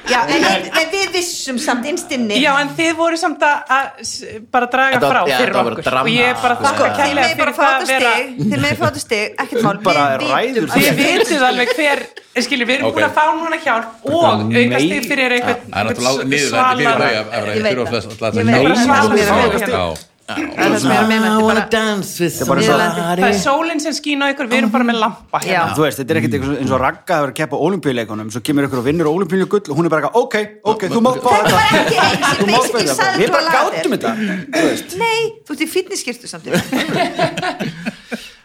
S5: Já, en, en, en við vissum samt innstinni
S4: Já, en þið voru samt að að s- bara draga
S1: Þetta var-
S4: frá
S1: já,
S4: fyrir
S1: þetta var
S4: okkur
S1: drama,
S4: og ég er bara
S1: sko.
S4: þakka
S5: Þið
S4: kærlega
S5: með bara
S4: fyrir
S5: fá
S4: það
S5: þetta
S4: að vera
S5: stig Þið með fá þetta stig, ekkert mál
S2: bara
S5: Við vitum
S2: ræður
S5: að-
S2: því.
S4: Þið vitið alveg hver eh, skilur, við erum
S3: Ok.
S4: búin að fá núna hjálp og
S2: Þetta er
S4: aukast þig
S2: mei-
S4: fyrir
S3: Það er náttúrulega
S4: eitthvað
S3: niðurlændi fyrir þau að- að
S5: Ég
S3: vera
S5: veit
S3: þurfa
S5: það.
S3: flest alltaf
S5: Ég veit
S3: að
S4: það.
S5: Bara svalara.
S3: Já,
S5: Það er það sem ég er
S1: I
S5: að meina, þetta er
S1: wanna
S5: bara-
S1: dance with
S2: bara
S1: somebody
S2: svo-
S4: Það er sólinn sem skín á ykkur, við erum bara með lampa
S5: Já.
S4: hérna.
S2: þú veist, þetta er ekkert eitthvað eins og ragga að vera að keppa ólimpíuleikunum, svo kemur ykkur og vinnur ólimpíuleikull og hún er bara eitthvað, ok, ok, þú mátt fá
S5: Þetta var
S2: þetta
S5: ekki eins,
S2: Þú mátt
S5: ég
S2: fá
S5: basically
S2: þetta, við
S5: sagði hvað
S2: bara
S5: lag þetta er.
S2: gátum þetta Þú veist.
S5: Nei, þú ert í fitnesskirtu samt Þetta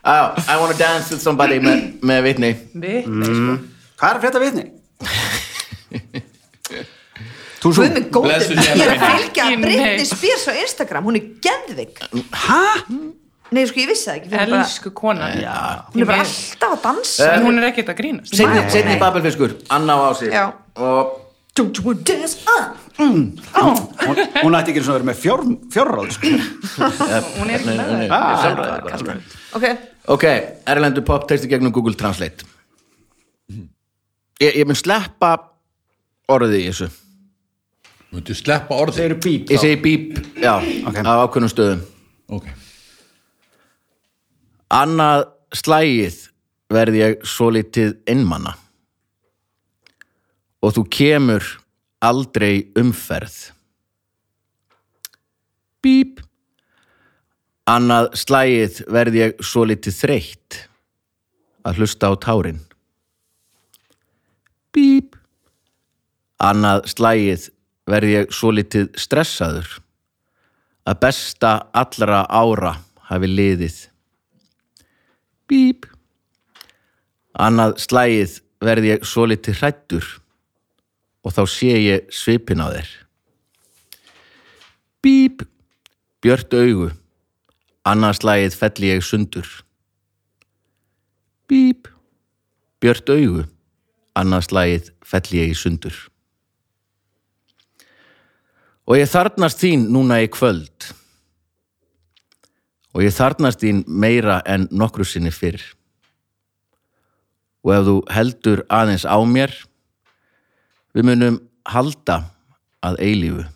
S1: Já, I wanna dance with somebody með, með vitni
S4: Við,
S2: Hvað er að frétta vitni? Þú
S5: Guð
S2: svo,
S5: minn góður,
S3: Blessuð sé
S5: ég er að
S3: minning.
S5: fylgja
S4: Ekki
S5: Britney
S4: neitt.
S5: Spears á Instagram, hún er geðvik
S2: hæ?
S5: Nei, sko, ég vissi það ekki fyrir bara-
S4: elsku kona
S5: Hún er bara alltaf að dansa
S3: Eh.
S4: En hún er ekkert að grínast
S1: Seinni, seinni babelfiskur, Anna á ási
S4: Já.
S1: Og
S5: Don't you wanna dance up?
S2: Hún, hún ætti ekki eins og að vera með fjár, fjárráð sko.
S4: Hún er ekki með það
S1: Ah, sjálfræði bara.
S5: Ok,
S1: Ok, erlendu pop texti gegnum Google Translate Ég, ég mun sleppa orðið í þessu
S3: Möndu sleppa
S2: Þeir
S3: orðið
S2: eru bíp
S1: Ég segi bíp, já, á ákveðnum stöðum
S3: Ok,
S1: Annað slægið verð ég svolítið innmanna og þú kemur aldrei umferð. Bíp. Annað slægið verð ég svolítið þreytt að hlusta á tárin. Bíp. Annað slægið verð ég svolítið stressaður að besta allra ára hafi liðið bíp annað slægið verð ég svolítið hrættur og þá sé ég svipin á þér Bíp, björt augu, annarslægið felli ég sundur. Bíp, björt augu, annarslægið felli ég sundur. Og ég þarnast þín núna í kvöld. Og ég þarnast þín meira en nokkru sinni fyrr. Og ef þú heldur aðeins á mér, við munum halda að eilífu.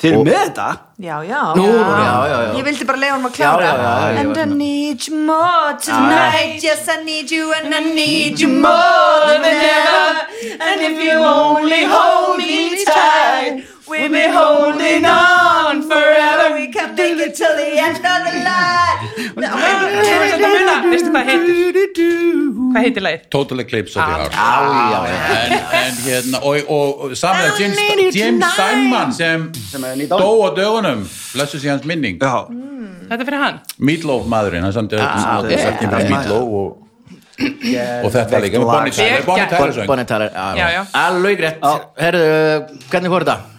S2: Þeir eru með þetta?
S5: já, já.
S1: Nú, já, já, já.
S5: Ég vildi bara leiða hann að klára
S1: Já, já, já, já,
S5: And
S1: já.
S5: I need you more tonight Yes, I need you and I need you more than ever And if you only hold me tight We'll be holding on forever We can make it till the end of the Oh line
S4: Þú
S5: [LAUGHS]
S4: veist þetta muna, veistu hvað heitir? Hvað heitir lagið?
S3: Total Eclipse of the Heart
S1: Já, já, já.
S3: en, en hérna og, og, og saman að
S5: I need you
S3: James, James
S5: tonight.
S3: Steinman sem,
S2: Sem er nýtt á.
S3: dó á dögunum blessu sér hans minning
S2: Já,
S4: Þetta er fyrir hann
S3: Meatloaf maðurinn, hann samdi ah,
S2: ok.
S3: Meatloaf og, og þetta líka með Bonnie Tyler Bonnie Tyler söng
S1: Bonnie Tyler, já,
S4: Já, já.
S1: Alveg rétt. Herðu, hvernig voru þetta?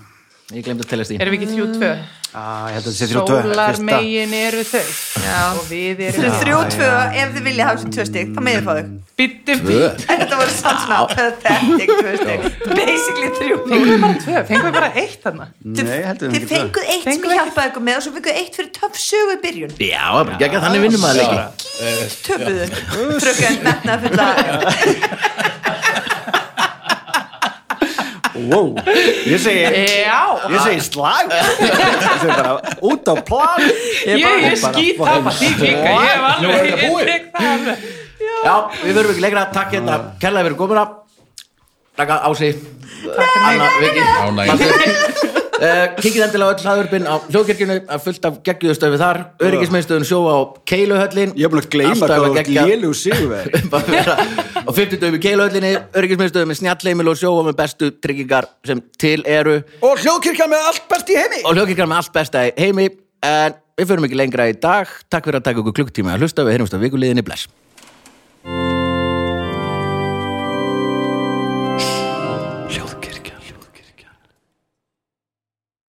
S1: Ég glemt að tella stín.
S4: Erum við ekki þrjú tvö?
S2: Ah, ég held að þetta sé þrjá tvö
S4: Sólar
S2: fyrsta.
S4: megin eru þau Og við
S5: Þetta
S4: erum
S5: er þrjú og tvö, ef þið vilja hafa þessu tvö stygg, þá meðið fá þau
S4: Bittu
S5: Þetta voru sannsna pathetic tvö stygg Basically þrjú
S4: Fengum við bara tvö, fengum við bara eitt þarna
S2: Nei, heldur
S5: Þið fenguð eitt sem
S4: Fenguð
S5: ég
S4: ekki.
S5: hjálpaði ykkur með og svo fenguð eitt fyrir töff sögu í byrjun
S1: Já, það er bara geggjað, þannig vinnum maður leiki.
S5: töpuðu trökkaði metna fulla
S2: Wow, ég segi,
S4: Já,
S2: ég segi slag Ég segi bara út á plan
S4: ég
S2: bara-
S4: er
S2: bara-
S4: skýt tapa því líka Ég hef
S3: Nú er
S4: alveg,
S3: þetta
S4: ég
S3: búið.
S4: tek það alveg
S1: Já, við verum ekki lengra. Takk hérna,
S2: Ah.
S1: kærlega fyrir komuna. Takk að Ási, Anna, Viki.
S3: Ánægja
S1: Uh, Kikið endilega á öll hlaðurpinn á hljóðkirkjunu að fullt af geggjuðustöfi þar öryggismiðstöðun sjóa á Keiluhöllin
S2: Ah. Ég er búin að gleyma
S1: Alltaf
S2: hvað þú
S1: að
S2: ert
S1: geggjað.
S2: lélugur
S1: [LAUGHS]
S2: sigurvegari.
S1: Bara vera á 50 döfum í Keiluhöllinni öryggismiðstöðum með snjallheimil og sjóa með bestu tryggingar sem til eru
S2: Og hljóðkirkja með allt best í heimi
S1: og hljóðkirkjar með allt besta í heimi en við förum ekki lengra í dag takk fyrir að taka okkur klukktíma að hlusta við heyrumst á vikuliðinni bless